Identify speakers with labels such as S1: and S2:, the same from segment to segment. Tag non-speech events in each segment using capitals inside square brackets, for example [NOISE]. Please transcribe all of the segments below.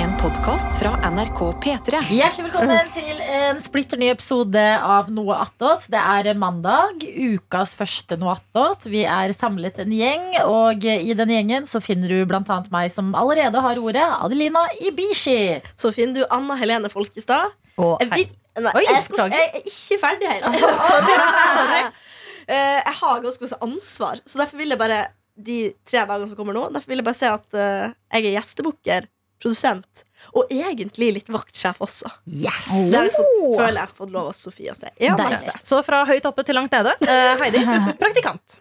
S1: En podkast fra NRK P3.
S2: Hjertelig velkommen til en splitter ny episode av Noe attåt. Det er mandag, ukas første Noe attåt. Vi er samlet en gjeng, og i den gjengen så finner du blant annet meg som allerede har ordet, Adelina Ibishi.
S3: Så finner du Anna Helene Folkestad.
S2: Og
S3: Jeg, vil, nei,
S2: Oi,
S3: jeg, skal,
S2: beklager.
S3: jeg er ikke ferdig her. Sorry. Sorry. [LAUGHS] Eh, jeg har ganske masse ansvar, så derfor vil jeg bare de tre dagene som kommer nå, derfor vil jeg bare si at eh, jeg er gjestebukker, produsent og egentlig litt vaktsjef også.
S2: yes!
S3: Det har jeg fått, føler jeg har fått lov av Sofie å si. Ja,
S2: Deilig.
S3: neste.
S4: Så fra høyt oppe til langt nede. Eh,
S2: [LAUGHS]
S4: Heidi, praktikant.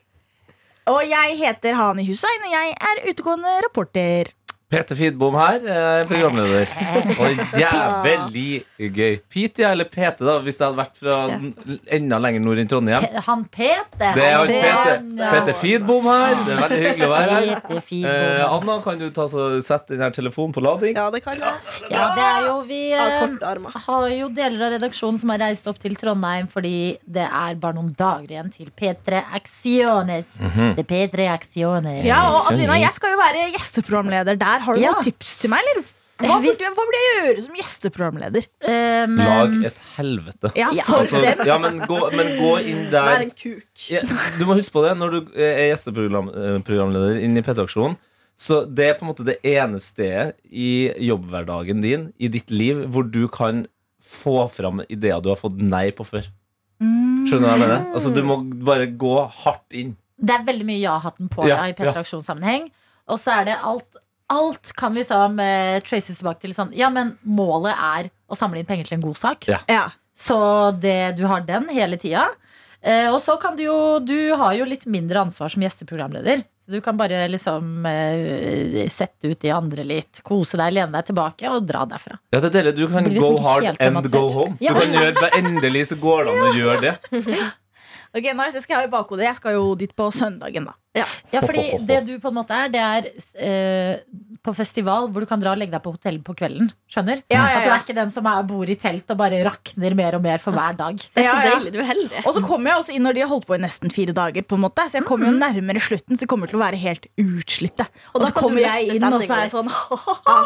S5: Og jeg heter Hani Hussein, og jeg er utegående reporter.
S6: Peter Fidbom her, eh, programleder. Og jævlig gøy. Pete, ja, eller Pete, da, hvis jeg hadde vært fra n- enda lenger nord enn Trondheim.
S2: Pe- Han Peter.
S6: Det er jo Peter,
S2: han-
S6: Peter Fidbom her. Det er veldig hyggelig å være her.
S2: Peter Fidbom.
S6: Eh, Anna, kan du ta så sette den her telefonen på lading?
S3: Ja, det kan jeg.
S2: Ja, det er jo vi
S3: Av
S2: eh,
S3: korte armer.
S2: har jo deler av redaksjonen som har reist opp til Trondheim fordi det er bare noen dager igjen til P3 Acciones. Det er P3 Acciones.
S5: Ja, og Adelina, jeg skal jo være gjesteprogramleder der. Har du
S2: Ja.
S5: noen tips til meg, eller? Hva burde, jeg- hva burde jeg gjøre som gjesteprogramleder?
S2: Um,
S6: Lag et helvete.
S5: Ja,
S2: Ja.
S5: for
S6: Altså,
S5: den.
S6: ja, men gå, men gå inn
S3: Vær
S6: der
S3: en kuk.
S6: ja, Du må huske på det når du eh, er gjesteprogramleder inn i P3-aksjonen. Så det er på en måte det ene stedet i jobbhverdagen din, i ditt liv, hvor du kan få fram ideer du har fått nei på før. Skjønner du hva jeg mener? Altså, du må bare gå hardt inn.
S2: Det er veldig mye ja-hatten på
S6: Ja,
S2: ja, i P-traksjonssammenheng. Og så er det alt Alt kan liksom eh, traces tilbake til sånn Ja, men målet er å samle inn penger til en god sak.
S6: Ja.
S5: Ja.
S2: Så det, du har den hele tida. Eh, og så kan du jo Du har jo litt mindre ansvar som gjesteprogramleder. Så du kan bare liksom eh, sette ut de andre litt, kose deg, lene deg tilbake og dra derfra.
S6: Ja, det er deilig. Du kan
S2: Det blir
S6: go
S2: liksom ikke
S6: hard
S2: helt
S6: and go
S2: dramatisert.
S6: home. Du
S2: Ja.
S6: kan gjøre det Endelig så går det an å gjøre det.
S5: Ok, nice, det skal jeg ha i bakhodet. Jeg skal jo dit på søndagen, da.
S2: Ja, fordi det du på en måte er, det er eh, på festival hvor du kan dra og legge deg på hotell på kvelden. Skjønner?
S5: Ja, ja,
S2: At du
S5: ja.
S2: er ikke den som er, bor i telt og bare rakner mer og mer for hver dag.
S3: Det er
S5: Ja,
S3: så
S5: ja.
S3: deilig. Du er heldig.
S5: Og så kommer jeg også inn når de har holdt på i nesten fire dager. på en måte Så jeg kommer jo nærmere slutten, så de kommer til å være helt utslitte. Mhm.
S3: da
S5: Og
S3: kan
S5: så
S3: du
S5: kommer jeg
S3: løfte
S5: inn, og så er jeg sånn [LAUGHS]
S3: stemningen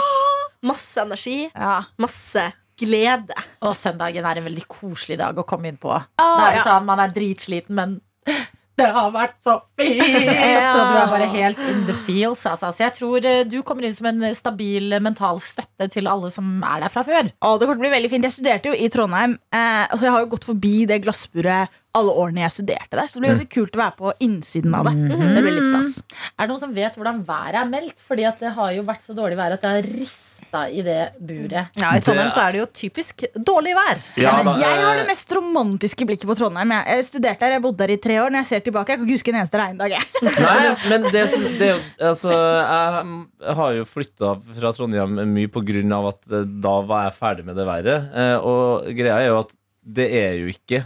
S3: Masse energi,
S5: ja.
S3: masse glede.
S2: Og søndagen er en veldig koselig dag å komme inn på.
S5: Ah,
S2: da er det
S5: ja.
S2: sånn, Man er dritsliten, men [LAUGHS] det har vært så
S4: [LAUGHS]
S2: fint!
S5: Ja.
S2: Og du er bare helt in the feels. Altså. Så jeg tror eh, du kommer inn som en stabil eh, mental støtte til alle som er der fra før.
S5: Å, det kommer til å bli veldig fint. Jeg studerte jo i Trondheim. Eh, altså jeg har jo gått forbi det glassburet alle årene jeg studerte der. Så det blir jo så kult å være på innsiden av det. Det blir litt stas.
S2: Er det noen som vet hvordan været er meldt? Fordi at det har jo vært så dårlig vær at det har rista i det buret.
S4: Ja, I Trondheim så er det jo typisk dårlig vær.
S6: Ja, da,
S5: Jeg har det
S6: eh,
S5: mest romantiske blikket på Trondheim. Jeg- Jeg studerte der, jeg bodde der i tre år. Når jeg ser tilbake, jeg kan ikke huske en eneste regndag. jeg.
S6: Nei, men det, som- det er jo- altså, Jeg mm, har jo flytta fra Trondheim mye på grunn av at eh, da var jeg ferdig med det været. Eh, Og greia er jo at det er jo ikke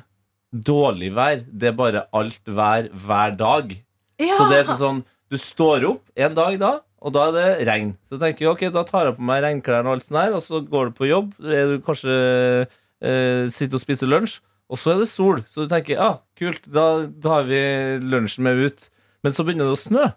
S6: dårlig vær, det er bare alt vær hver dag. Så det er sånn sånn Du står opp en dag da, og da er det regn. Så tenker jeg ok, da tar jeg på meg regnklærne og alt sånt her, og så går du på jobb. Er du kanskje eh, sitter og spiser lunsj, og så er det sol. Så du tenker ja, ah, kult, da tar vi lunsjen med ut. Men så begynner det å snø.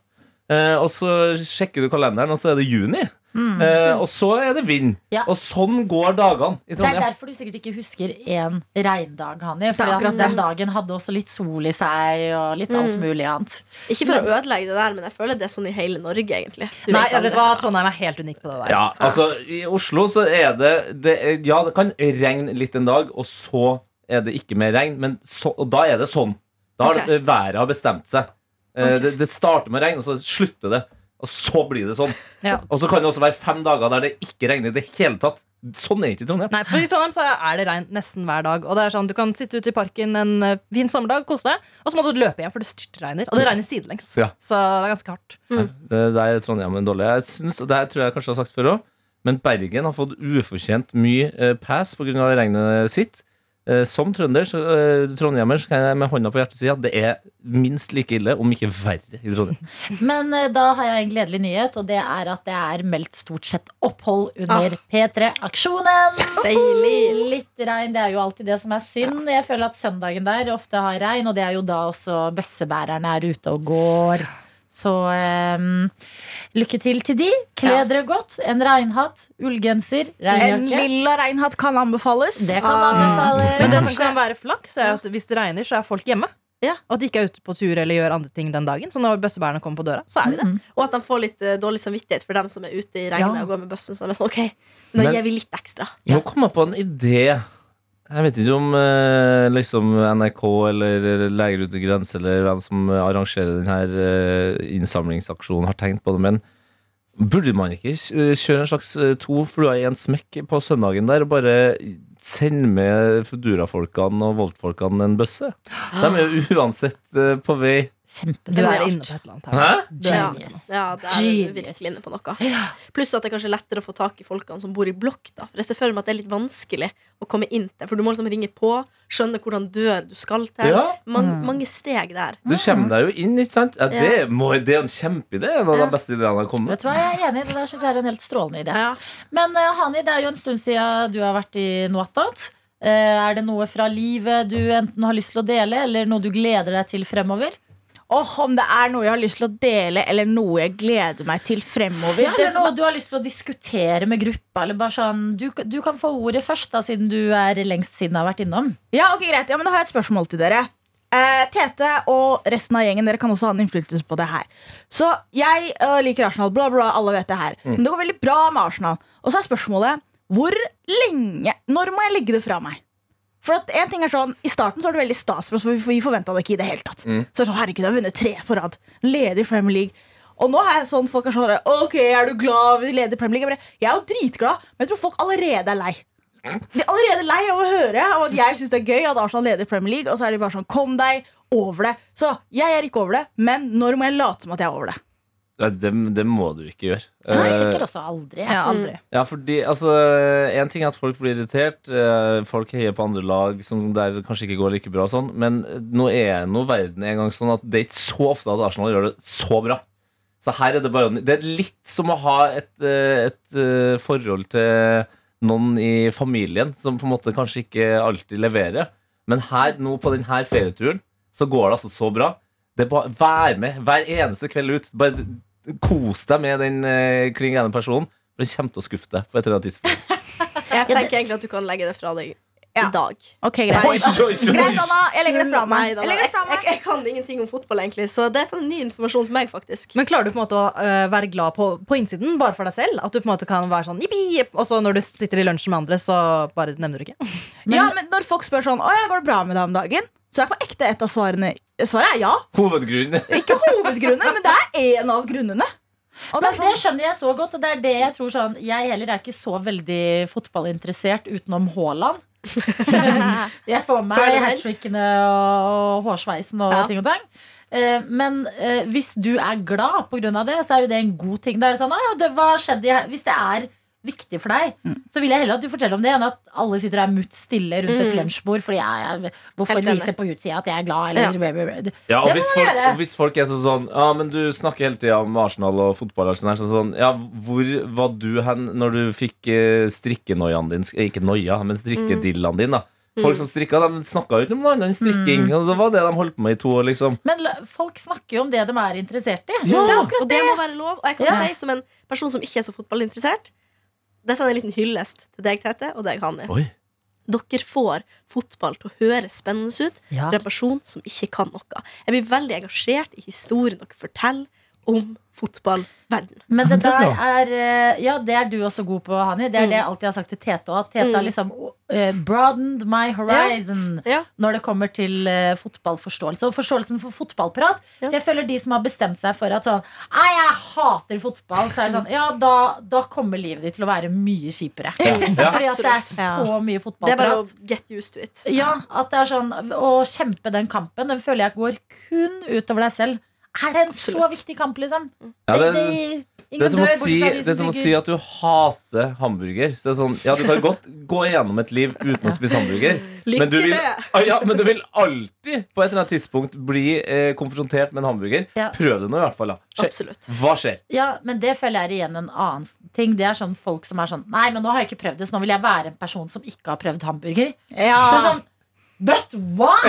S6: Eh, og så sjekker du kalenderen, og så er det juni. Eh, og så er det vind.
S2: Mm. Ja.
S6: Og sånn går dagene
S2: Det
S6: i
S2: er
S6: Trondheim.
S2: derfor du sikkert ikke husker én regndag, Hanni. Fordi
S5: akkurat
S2: at den dagen hadde også litt sol i seg, og
S4: Mm.
S2: litt alt mulig annet.
S3: Ikke for å ødelegge det der, men jeg vet aldri. føler det er sånn i hele Norge, egentlig.
S4: Nei, jeg vet hva, Trondheim er helt unik på det der.
S6: Ja, altså I Oslo så er det, det er- Ja, det kan regne litt en dag, og så er det ikke mer regn. Men så, og da er det sånn. Da har
S3: Ok.
S6: det- været har bestemt seg. Eh, Det, det starter med regn, og så slutter det. Og så blir det sånn.
S4: Ja.
S6: Og så kan det også være fem dager der det ikke regner i det hele tatt. Sånn er ikke Trondheim.
S4: Nei, for I Trondheim så er det regn nesten hver dag. Og det er sånn, Du kan sitte ute i parken en eh, fin sommerdag, kose deg, og så må du løpe hjem, for det styrtregner. Og det regner sidelengs.
S6: Ja.
S4: Så det er ganske hardt.
S6: Det der er Trondheim en dårlig. Jeg synes, og det her tror jeg kanskje jeg har sagt før òg, men Bergen har fått ufortjent mye eh, pass pga. regnet sitt. Eh, som trønder, så, eh, trondhjemmer, så kan jeg med hånda på hjertet si at det er minst like ille, om ikke verre, i Trondheim.
S2: Men eh, da har jeg en gledelig nyhet, og det er at det er meldt stort sett opphold under P3-aksjonen.
S3: Deilig.
S2: Litt regn, det er jo alltid det som er synd. Jeg føler at søndagen der ofte har regn, og det er jo da også bøssebærerne er ute og går. Så eh, lykke til til de. Kle
S5: Ja.
S2: dere godt. En regnhatt, ullgenser,
S5: En
S2: regnjakke.
S5: lilla reinhatt kan anbefales.
S2: Det kan
S4: Men det
S2: anbefales.
S4: som kan være flaks, er at hvis det regner, så er folk hjemme.
S3: Ja.
S4: Og at de ikke er ute på tur eller gjør andre ting den dagen. Så når bøssebærene kommer på døra, så er de det.
S3: Og at de får litt eh, dårlig samvittighet for dem som er ute i regnet
S4: Ja.
S3: og går med bussen. Så de er sånn, ok, nå
S6: Men-
S3: gir vi litt ekstra.
S6: Nå kom jeg på en idé. Jeg vet ikke om eh, liksom NRK eller Leger uten grenser eller hvem som arrangerer denne eh, innsamlingsaksjonen, har tenkt på det, men burde man ikke eh, kjøre en slags eh, to fluer i en smekk på søndagen der og bare sende med Foodora-folkene og Volt-folkene en bøsse? De er jo uansett eh, på vei
S4: Du
S2: Kjempedørt.
S4: er inne på et eller annet her.
S6: Hæ?
S2: Genius.
S3: Ja, det er du
S2: Genius.
S3: virkelig inne på noe. Pluss at det er kanskje lettere å få tak i folkene som bor i blokk. da For jeg ser for meg at det er litt vanskelig å komme inn til, for du må liksom ringe på, skjønne hvordan dør du skal til.
S6: Ja.
S3: Mange,
S5: Mm.
S3: mange steg der.
S6: Du kommer deg jo inn, ikke sant? Ja, det, må, det er jo en kjempeidé. Det er En av
S3: Ja.
S6: de beste ideene jeg har kommet
S2: Vet du hva, Jeg er enig i det. der synes jeg er en helt strålende idé.
S3: Ja.
S2: Men eh, Hani, det er jo en stund siden du har vært i Noatot. Er det noe fra livet du enten har lyst til å dele, eller noe du gleder deg til fremover?
S5: Åh, om det er noe jeg har lyst til å dele, eller noe jeg gleder meg til fremover.
S2: Ja,
S5: det
S2: eller
S5: som
S2: noe du har lyst til å diskutere med gruppa? Eller bare sånn, du, du kan få ordet først, da, siden du er lengst siden jeg har vært innom.
S5: Ja, ok, greit. Ja, men Da har jeg et spørsmål til dere. Eh, Tete og resten av gjengen Dere kan også ha en innflytelse på det her. Så jeg eh, liker Arsenal, bla, bla, alle vet det her. Men det går veldig bra med Arsenal. Og så er spørsmålet hvor lenge Når må jeg legge det fra meg? For at en ting er sånn, I starten så var det veldig stas for oss, for vi- for vi forventa det ikke i det hele tatt.
S6: Mm.
S5: Så er det sånn, herregud, jeg har vunnet tre på rad. Leder i Premier League. Og nå er jeg sånn, folk er sånn Ok, er du glad vi leder Premier League? Jeg, bare, jeg er jo dritglad, men jeg tror folk allerede er lei. De er allerede lei av å høre og at jeg syns det er gøy at Arsenal leder Premier League. Og så er de bare sånn, kom deg over det Så jeg er ikke over det, men når må jeg late som at jeg er over det?
S6: Ja, det, det må du ikke gjøre.
S2: Jeg
S6: Eh,
S2: tenker også aldri.
S4: Ja, aldri.
S6: Ja, fordi altså En ting er at folk blir irritert. eh, Folk heier på andre lag som der det kanskje ikke går like bra og sånn. Men nå er nå verden en gang sånn at det er ikke så ofte at Arsenal gjør det så bra. Så her er det bare Det er litt som å ha et, eh, et eh, forhold til noen i familien som på en måte kanskje ikke alltid leverer. Men her nå på denne ferieturen så går det altså så bra. Det er bare, Vær med hver eneste kveld ut. Bare kos deg med den eh, kling gærne personen. For det kommer til å skuffe deg på et eller annet tidspunkt.
S3: Jeg tenker egentlig at du kan legge det fra deg i
S5: Ja.
S3: dag.
S5: Ok, greit. Greit, Anna. Jeg legger det
S3: Nei,
S5: fra meg.
S3: da,
S5: Jeg
S3: da.
S5: legger det fra
S3: Jeg, jeg,
S5: meg.
S3: jeg kan ingenting om fotball, egentlig, så det er ny informasjon for meg, faktisk.
S4: Men klarer du på en måte å øh, være glad på, på innsiden, bare for deg selv? At du på en måte kan være sånn jippi, jipp, og så når du sitter i lunsjen med andre, så bare nevner du ikke?
S5: Ja, men Når folk spør sånn Å ja, går det bra med deg om dagen? Så er på ekte et av svarene Svaret er ja.
S6: Hovedgrunnen
S5: Ikke hovedgrunnen, men det er én av grunnene. Og det
S2: Men
S5: er
S2: det
S5: sånn,
S2: skjønner jeg så godt, og det er det jeg tror sånn Jeg heller er ikke så veldig fotballinteressert utenom
S3: [LAUGHS]
S2: Haaland. jeg får
S3: Føler
S2: meg
S3: du vel?
S2: hat trickene og hårsveisen og
S3: Ja.
S2: ting og tang. Eh, Men eh, hvis du er glad pga. det, så er jo det en god ting. Da er det sånn, «Å ja, det, hva skjedde i hel-» Hvis det er viktig for deg,
S3: Mm.
S2: så vil jeg heller at du forteller om det, enn at alle sitter der mutt stille rundt et lunsjbord fordi jeg, jeg, hvorfor
S3: Mm. Helt enig.
S2: viser på utsida at jeg er glad, eller
S6: Ja, og
S2: Det må
S6: hvis
S2: man
S6: folk,
S2: gjøre.
S6: og hvis folk er sånn sånn Ja, men du snakker hele tida om Arsenal og fotball og alt sånt her, så sånn Ja, hvor var du hen når du fikk eh, strikkenoiaen din eh, Ikke noia, men strikkedillaen din, da.
S2: Mm.
S6: Folk som strikka, de snakka jo ikke om noe annet enn strikking. Og det var det de holdt på med i to år, liksom.
S2: Men la- folk snakker jo om det de er interessert i.
S6: Ja,
S3: Og det må være lov. Og jeg kan
S2: Ja.
S3: si som en person som ikke er så fotballinteressert Dette er en liten hyllest til deg, Tete, og deg, Hani.
S6: Oi.
S3: Dere får fotball til å høre spennende ut
S2: Ja.
S3: fra en person som ikke kan noe. Jeg blir veldig engasjert i historien dere forteller om fotballverden.
S2: Men det
S6: det er
S2: der er eh, Ja, det er du også god på, Hani. Det er det
S3: Mm.
S2: jeg alltid har sagt til Tete òg. At Tete
S3: Mm.
S2: har liksom eh, broadened my horizon
S3: Ja.
S2: når det kommer til eh, fotballforståelse. Og forståelsen for fotballprat.
S3: Ja.
S2: For jeg føler de som har bestemt seg for at sånn Nei, jeg hater fotball. Så er det sånn Ja, da, da kommer livet ditt til å være mye kjipere.
S6: Ja.
S2: Fordi at det er
S5: Ja.
S2: så mye
S3: Det er bare å
S2: fotballprat.
S3: get used to it.
S2: Ja, at det er sånn Å kjempe den kampen, den føler jeg går kun utover deg selv. Er det en så
S3: Absolutt.
S2: viktig kamp, liksom?
S6: Ja, det,
S2: det,
S6: det er som å
S2: dør
S6: si,
S2: bortsett fra de
S6: det er som å
S2: drikker-
S6: si at du hater hamburger. Så det er sånn, ja, du kan godt gå gjennom et liv uten
S2: [LAUGHS]
S6: å spise hamburger,
S3: Lykke
S6: men du vil,
S3: til!
S6: ah, ja, men du vil alltid på et eller annet tidspunkt bli eh, konfrontert med en hamburger.
S2: Ja.
S6: Prøv det nå, i hvert fall. da. Sjekk.
S3: Absolutt.
S6: Hva skjer?
S2: Ja, men det føler jeg er igjen en annen ting. Det er sånn folk
S5: Ah.
S2: som er sånn Nei, men nå har jeg ikke prøvd det, så nå vil jeg være en person som ikke har prøvd hamburger. Så
S5: ja.
S2: sånn, But why?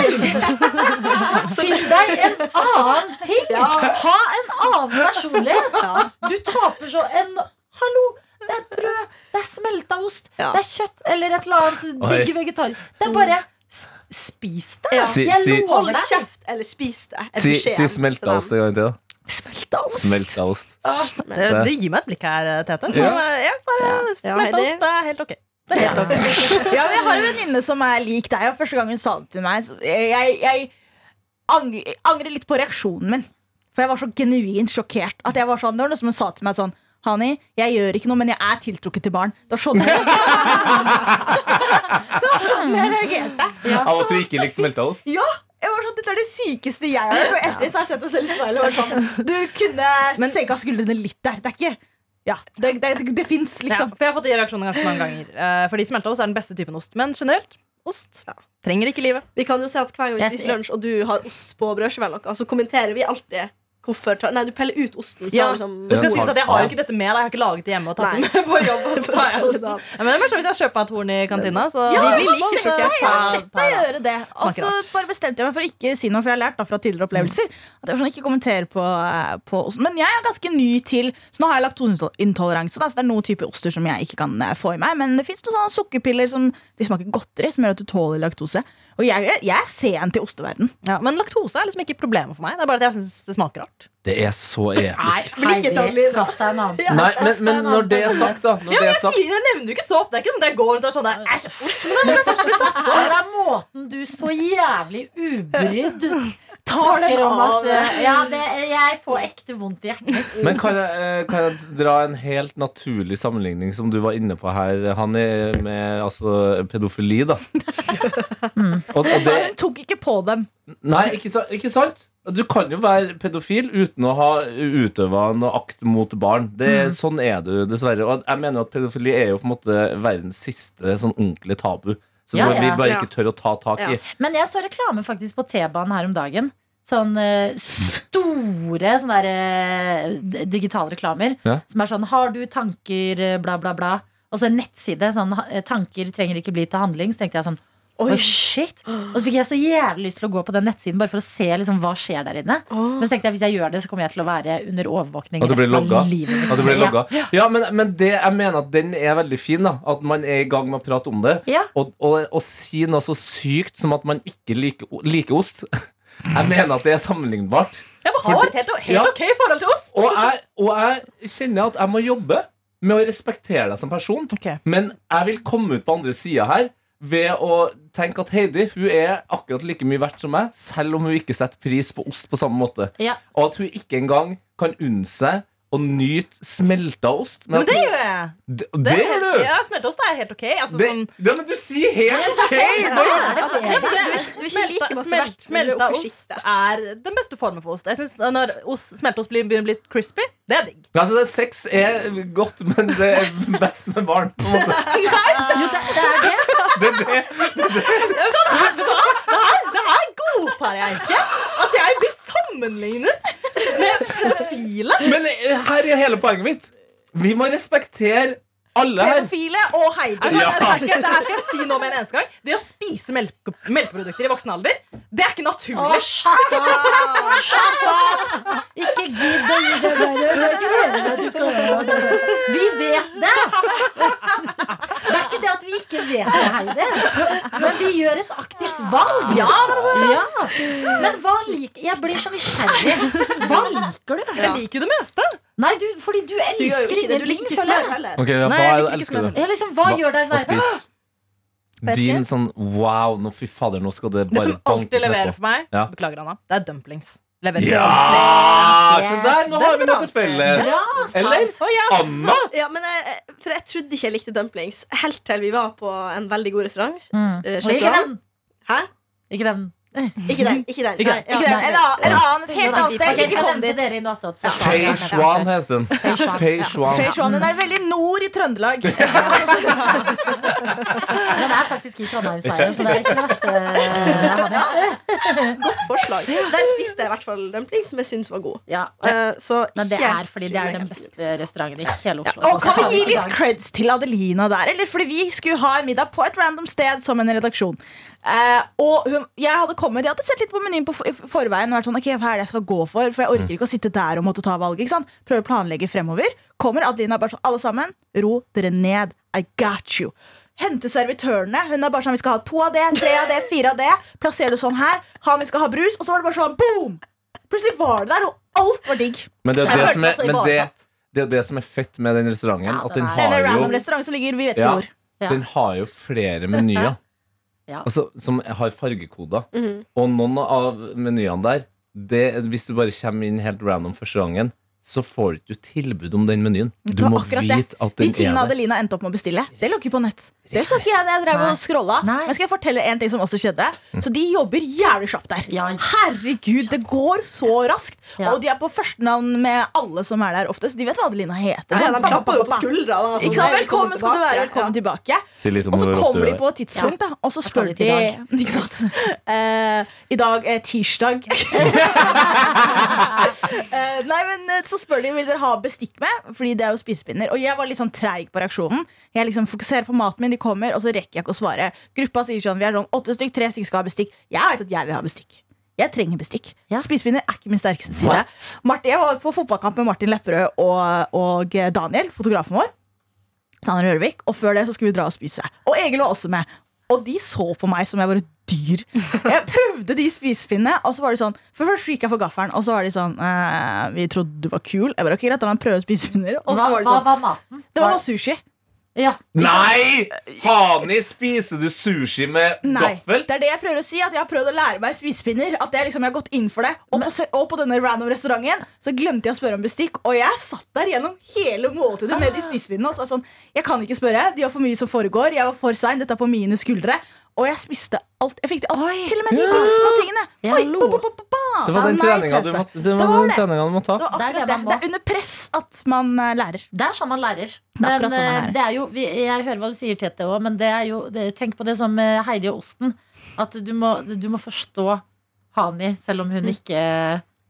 S2: Finn deg en annen ting! Ha en annen personlighet!
S3: Ja.
S2: Du taper så en Hallo! Det er brød, det er smelta ost,
S3: Ja.
S2: det er kjøtt eller et eller annet
S6: Oi.
S2: digg vegetar. Det er bare s- Spis det!
S3: Ja.
S6: Si,
S2: Jeg
S6: si,
S2: lover
S3: Hold
S2: deg.
S3: kjeft, eller spis det. er
S6: si,
S3: beskjeden
S6: si
S3: til dem.
S6: smeltaost en gang til. da.
S2: Smelta ost!
S6: Smeltaost.
S3: Åh, men-
S4: Det, det gir meg et blikk her, Tete. Så,
S6: Ja.
S4: eh, ja,
S3: Ja,
S4: bare smelt
S3: Heidi.
S4: oss. Det er helt ok. Det er helt ok.
S5: Ja, men jeg har en venninne som er lik deg, og første gang hun sa det til meg, så jeg, jeg ang- angrer litt på reaksjonen min. For jeg var så genuint sjokkert. At jeg var sånn, Det var noe som hun sa til meg sånn Hani, jeg gjør ikke noe, men jeg er tiltrukket til barn. Da skjønner jeg Det var sånn jeg reagerte.
S6: Av at du ikke likte smeltaost?
S5: Ja, jeg var sånn, Dette er det sykeste jeg har hørt. Og etter så har jeg sett meg selv i speilet og vært sånn Du kunne senka skuldrene litt der. Det er ikke Ja, det, det, det, det fins,
S4: Ja,
S5: liksom.
S4: for jeg har fått de reaksjonene ganske mange ganger. Eh, Fordi smelteost er den beste typen ost. Men generelt, ost trenger ikke livet.
S3: Vi kan jo se at hver gang vi
S2: Jeg
S3: spiser
S2: sier-
S3: lunsj, og du har ost på brødskiva, eller noe, så kommenterer vi alltid hvorfor tar, Nei, du peller ut osten. Fra,
S4: Ja,
S3: liksom,
S4: Det skal
S6: Ja.
S4: sies at Jeg har jo ikke dette med, da. jeg har ikke laget det hjemme og tatt det
S3: Nei.
S4: med på jobb. Og så tar jeg osten.
S3: Sånn.
S4: Ja, men det er bare sånn Hvis jeg kjøper meg et horn i kantina, så
S5: Ja,
S4: Vi
S5: vi
S4: blir
S5: liker
S4: så
S5: sjokolade. Jeg har
S4: ta-
S5: sett deg
S4: ta-
S5: gjøre det. Og
S4: Smaker
S5: så bare bestemte jeg meg for å ikke si noe, for jeg har lært da fra tidligere opplevelser. At jeg var sånn, ikke kommentere på, eh, på osten. Men jeg er ganske ny til Så nå har jeg laktoseintoleranse. Da, så det er noen typer oster som jeg ikke kan eh, få i meg. Men det fins noen sånne sukkerpiller som de smaker godteri, som gjør at du tåler laktose. Og jeg, jeg er sen til osteverden.
S4: Ja, men laktose er liksom ikke problemet for meg. Det er bare at jeg synes det smaker rart.
S6: Det er så episk.
S3: Blikket til
S2: Herlighet,
S3: Adeline.
S2: skaff deg en annen.
S6: Nei, men, men når det er sagt, da når det
S4: Ja, men
S6: er
S4: jeg,
S6: sagt,
S4: sier, jeg nevner det jo ikke så ofte. Det er ikke sånn at jeg går rundt og er sånn der, Æsj, ost. Men det er bare først-
S2: Det er måten du så jævlig ubrydd
S5: Tar den
S2: snakker om
S5: av.
S2: at eh, Ja, det, jeg får ekte vondt i hjertet.
S6: Men kan jeg, eh, kan jeg dra en helt naturlig sammenligning som du var inne på her, Hanni, med altså, pedofili, da?
S2: Mm.
S6: Og, og
S5: Så
S6: det,
S5: hun tok ikke på dem.
S6: Nei, ikke, sa- ikke sant? Du kan jo være pedofil uten å ha utøva noe akt mot barn. Det,
S2: Mm.
S6: Sånn er du, dessverre. Og jeg mener at pedofili er jo på en måte verdens siste sånn ordentlig tabu. Som
S2: Ja, ja.
S6: vi bare
S3: Ja.
S6: ikke tør å ta tak i.
S2: Men jeg så reklame faktisk på T-banen her om dagen. Sånn eh, store sånne der, eh, d- digitale reklamer.
S6: Ja.
S2: Som er sånn 'Har du tanker, eh, bla, bla, bla'. Og så en nettside. Sånn ha- eh, 'Tanker trenger ikke bli til handling'. Så tenkte jeg sånn Oi, shit! Og så fikk jeg så jævlig lyst til å gå på den nettsiden bare for å se liksom, hva skjer der inne. Men så tenkte jeg hvis jeg gjør det, så kommer jeg til å være under overvåkning
S6: At du blir
S2: resten av
S6: logga?
S2: livet mitt.
S6: At det blir
S2: Ja.
S6: logga. Ja, men, men det jeg mener at den er veldig fin. da At man er i gang med å prate om det.
S2: Ja.
S6: Og, og, og si noe så sykt som at man ikke liker, o- liker ost. Jeg mener at det er sammenlignbart.
S4: Jeg bare har et helt,
S6: Ja.
S4: helt ok forhold til ost.
S6: Og jeg, og jeg kjenner at jeg må jobbe med å respektere deg som person.
S4: Ok.
S6: Men jeg vil komme ut på andre sida her ved å tenke at Heidi hun er akkurat like mye verdt som meg, selv om hun ikke setter pris på ost på samme måte.
S2: Ja.
S6: Og at hun ikke engang kan unne seg å nyte smelta ost.
S4: Men det
S6: at,
S4: gjør jeg.
S6: det,
S4: Det
S6: det
S4: er
S6: gjør
S4: helt,
S6: du!
S4: ja, Smelteost er helt ok. Altså,
S6: Det,
S4: sånn,
S6: det, men du sier helt OK!
S2: Ja, det er
S3: Altså,
S2: det.
S3: ja, men du, er
S4: det-
S3: ikke- du er ikke like masse
S4: smelt-
S3: verdt, men du er
S4: smelta
S3: oppe i
S4: ost
S3: sjiktet.
S4: er den beste formen for ost. Jeg synes eh, Når ost, smelteost blir- begynner å bli litt crispy, det er digg.
S6: Altså, det, sex er godt, men det er best med barn. På en måte.
S2: Jo, det, det er det.
S6: Det, er det.
S4: Det er sånn, vet du hva? Det her, det her godtar jeg ikke. At jeg blir sammenlignet med pedofile.
S6: Men eh, her er hele poenget mitt. Vi må respektere alle her.
S5: Pedofile og
S4: Er
S5: Heidi.
S4: det,
S6: Ja.
S4: det, her skal, jeg- det her skal jeg si nå med en eneste gang. Det å spise melke, melkeprodukter i voksen alder, det er ikke
S2: Å,
S4: naturlig.
S2: shut up! Shut up! Ikke gidd å gi det der. Jeg gleder meg til å høre det. Vi vet det! Det er ikke det at vi ikke vet det, Heidi. Men vi gjør et aktivt valg. Ja, Men hva liker Jeg blir så nysgjerrig. Hva liker du?
S4: Jeg liker jo det meste.
S2: Nei, du, fordi du
S3: Du gjør jo
S2: elsker
S3: ikke det. Du liker ikke smør heller.
S6: Ok, ja, hva
S4: Nei, jeg liker
S6: er-
S4: ikke
S6: elsker
S4: smør.
S6: du?
S2: Ja, liksom, hva, gjør deg sånn
S6: Hva
S2: her?
S6: spis? Din sånn wow, nå fy fader, nå skal det
S4: Det
S6: bare
S4: som alltid
S6: bankes
S4: leverer
S6: nedpå.
S4: for meg,
S6: Ja.
S4: beklager Anna, det er dumplings. Leverer
S6: Ja!
S2: Yes,
S6: Så der, nå
S4: det
S6: har
S4: er
S6: vi noe til
S4: bra.
S6: felles.
S2: Bra,
S6: Eller?
S4: Å, ja.
S6: Anna?
S3: Ja, men jeg, for jeg trodde ikke jeg likte dumplings helt til vi var på en veldig god restaurant.
S2: Mm.
S3: Eh,
S2: Ikke
S3: Schezwan.
S2: den.
S3: Hæ?
S2: Ikke den.
S3: Ikke den. Ikke den.
S6: Ikke
S3: Nei, ja,
S5: Ikke det? En annen, en annen et helt annet
S2: Ok,
S5: sted.
S2: jeg
S5: Ikke kom
S2: nevnte
S5: dit.
S2: dere i altså. noe annet. så-
S6: Fei Shuan heter den. Fei Shuan.
S5: Fei Shuan, Hun er veldig nord i Trøndelag.
S2: Den er faktisk i Trondheim, sa jeg, så det er ikke det verste jeg har med.
S3: Godt forslag. Der spiste jeg i hvert fall dumpling, som jeg syns var god.
S2: Ja.
S3: Eh, så
S2: Men det
S3: ikke
S2: er fordi det er den
S3: kylling.
S2: beste restauranten i hele Oslo.
S5: Og kan
S2: Så-
S5: vi gi litt creds til Adelina der? Eller fordi vi skulle ha en middag på et random sted som en redaksjon. Eh, og hun, jeg hadde kommet, jeg hadde sett litt på menyen på for- i forveien og vært sånn, ok, hva er det jeg skal gå for? For jeg orker ikke å sitte der og måtte ta valget. ikke sant? Prøver å planlegge fremover. Kommer Adelina bare sånn, alle sammen, ro dere ned. I got you. Hente servitørene. Hun er bare sånn, vi skal ha to av det, tre av det, fire av det. Plasserer det sånn her. Han, vi skal ha brus. Og så var det bare sånn, boom! Plutselig var det der, og alt var digg.
S6: Men det er
S2: Jeg
S6: jo det
S2: følte
S6: som
S2: meg
S6: er,
S2: så
S6: men det,
S2: ivaretatt.
S6: det, er jo det som er fett med den restauranten.
S2: Ja,
S6: at
S2: den
S6: den
S2: er-
S5: Denne
S6: har,
S5: random
S6: jo,
S5: restaurant som ligger, vi vet ikke
S6: Ja.
S5: hvor.
S2: Ja.
S6: den har jo
S5: [LAUGHS]
S6: flere menyer
S2: Ja.
S6: altså, som har fargekoder.
S5: Mhm.
S6: Og noen av menyene der, det, hvis du bare kommer inn helt random første gangen, så får du ikke tilbud om den menyen. Du
S5: Det var
S6: må
S5: akkurat det.
S6: vite at
S5: De
S6: den
S5: tingene
S6: er der.
S5: Adelina endte opp med å bestille, det lå ikke på nett. Det så ikke jeg da jeg drev
S2: Nei.
S5: og scrolla.
S2: Nei.
S5: Men skal jeg fortelle en ting som også skjedde? Så de jobber jævlig kjapt der.
S2: Ja.
S5: Herregud, det går så raskt!
S2: Ja.
S5: Og de er på førstenavn med alle som er der ofte, så de vet hva Adelina heter.
S3: Ja,
S5: Sånn,
S3: de
S5: ba, ba,
S3: klapper jo
S5: ba,
S3: på
S5: ba.
S3: skuldra. Da, sånn,
S5: Ikke sant?
S3: «Nei,
S5: Velkommen skal du være, velkommen tilbake.
S6: Si litt om
S5: Og så
S6: hvor ofte
S5: kommer
S6: du
S5: de
S6: er
S5: på et tidspunkt, da, og så
S2: skal
S5: spør
S2: dit
S5: de
S2: i
S5: Ikke sant? [LAUGHS] Eh, I dag er [LAUGHS] tirsdag. Eh, nei, men eh, så spør de vil dere ha bestikk med, fordi det er jo spisepinner. Og jeg var litt sånn treig på reaksjonen. Jeg liksom fokuserer på maten min, de kommer, og så rekker jeg ikke å svare. Gruppa sier sånn, vi er sånn åtte stykk, tre stykk skal ha bestikk. Jeg vet at jeg vil ha bestikk. Jeg trenger bestikk.
S2: Ja.
S5: Spisepinner er ikke min sterkeste side. Martin, jeg var på fotballkamp med Martin Lepperød og, og Daniel, fotografen vår. Daniel Rørvik, og før det så skulle vi dra og spise. Og Egil var også med. Og de så på meg som jeg var et dyr. Jeg prøvde de spisepinnene, og så var de sånn For først gikk jeg for gaffelen, og så var de sånn eh, Vi trodde du var kul. Jeg bare, ok, greit, da må jeg prøve spisepinner. Og
S2: Hva
S5: så var det
S2: hva
S5: sånn
S2: var maten?
S5: Det var sushi.
S2: Ja.
S6: Nei! Hani, spiser du sushi med
S5: Nei.
S6: gaffel?
S5: Det er det jeg prøver å si. At jeg har prøvd å lære meg spisepinner. At jeg liksom jeg har gått inn for det og på, se- og på denne random restauranten så glemte jeg å spørre om bestikk, og jeg satt der gjennom hele måltidet med
S6: Ah.
S5: de spisepinnene. Og så var jeg sånn, jeg kan ikke spørre. De har for mye som foregår. Jeg var for sein. Dette er på mine skuldre. Og jeg spiste alt. Jeg fikk det alt. Til og med de bitte små tingene.
S2: Ja,
S5: Oi,
S2: lo.
S5: ba, ba, ba, ba.
S6: Det var
S5: Sa
S6: den
S5: nei,
S6: treninga du
S5: Tete.
S6: måtte, det
S5: Det
S6: var
S5: var
S6: den
S5: det.
S6: treninga du
S5: Det
S6: måtte ha.
S5: var
S2: Det er det
S5: akkurat det.
S2: man
S5: Det
S2: må.
S5: er under press at man eh, lærer.
S2: Det er sånn man lærer.
S5: er akkurat
S2: Men,
S5: sånn man
S2: eh,
S5: lærer.
S2: det er jo, vi, jeg hører hva du sier, Tete, også, men det er jo, det, tenk på det som eh, Heidi og osten. At du må, du må forstå Hani, selv om hun ikke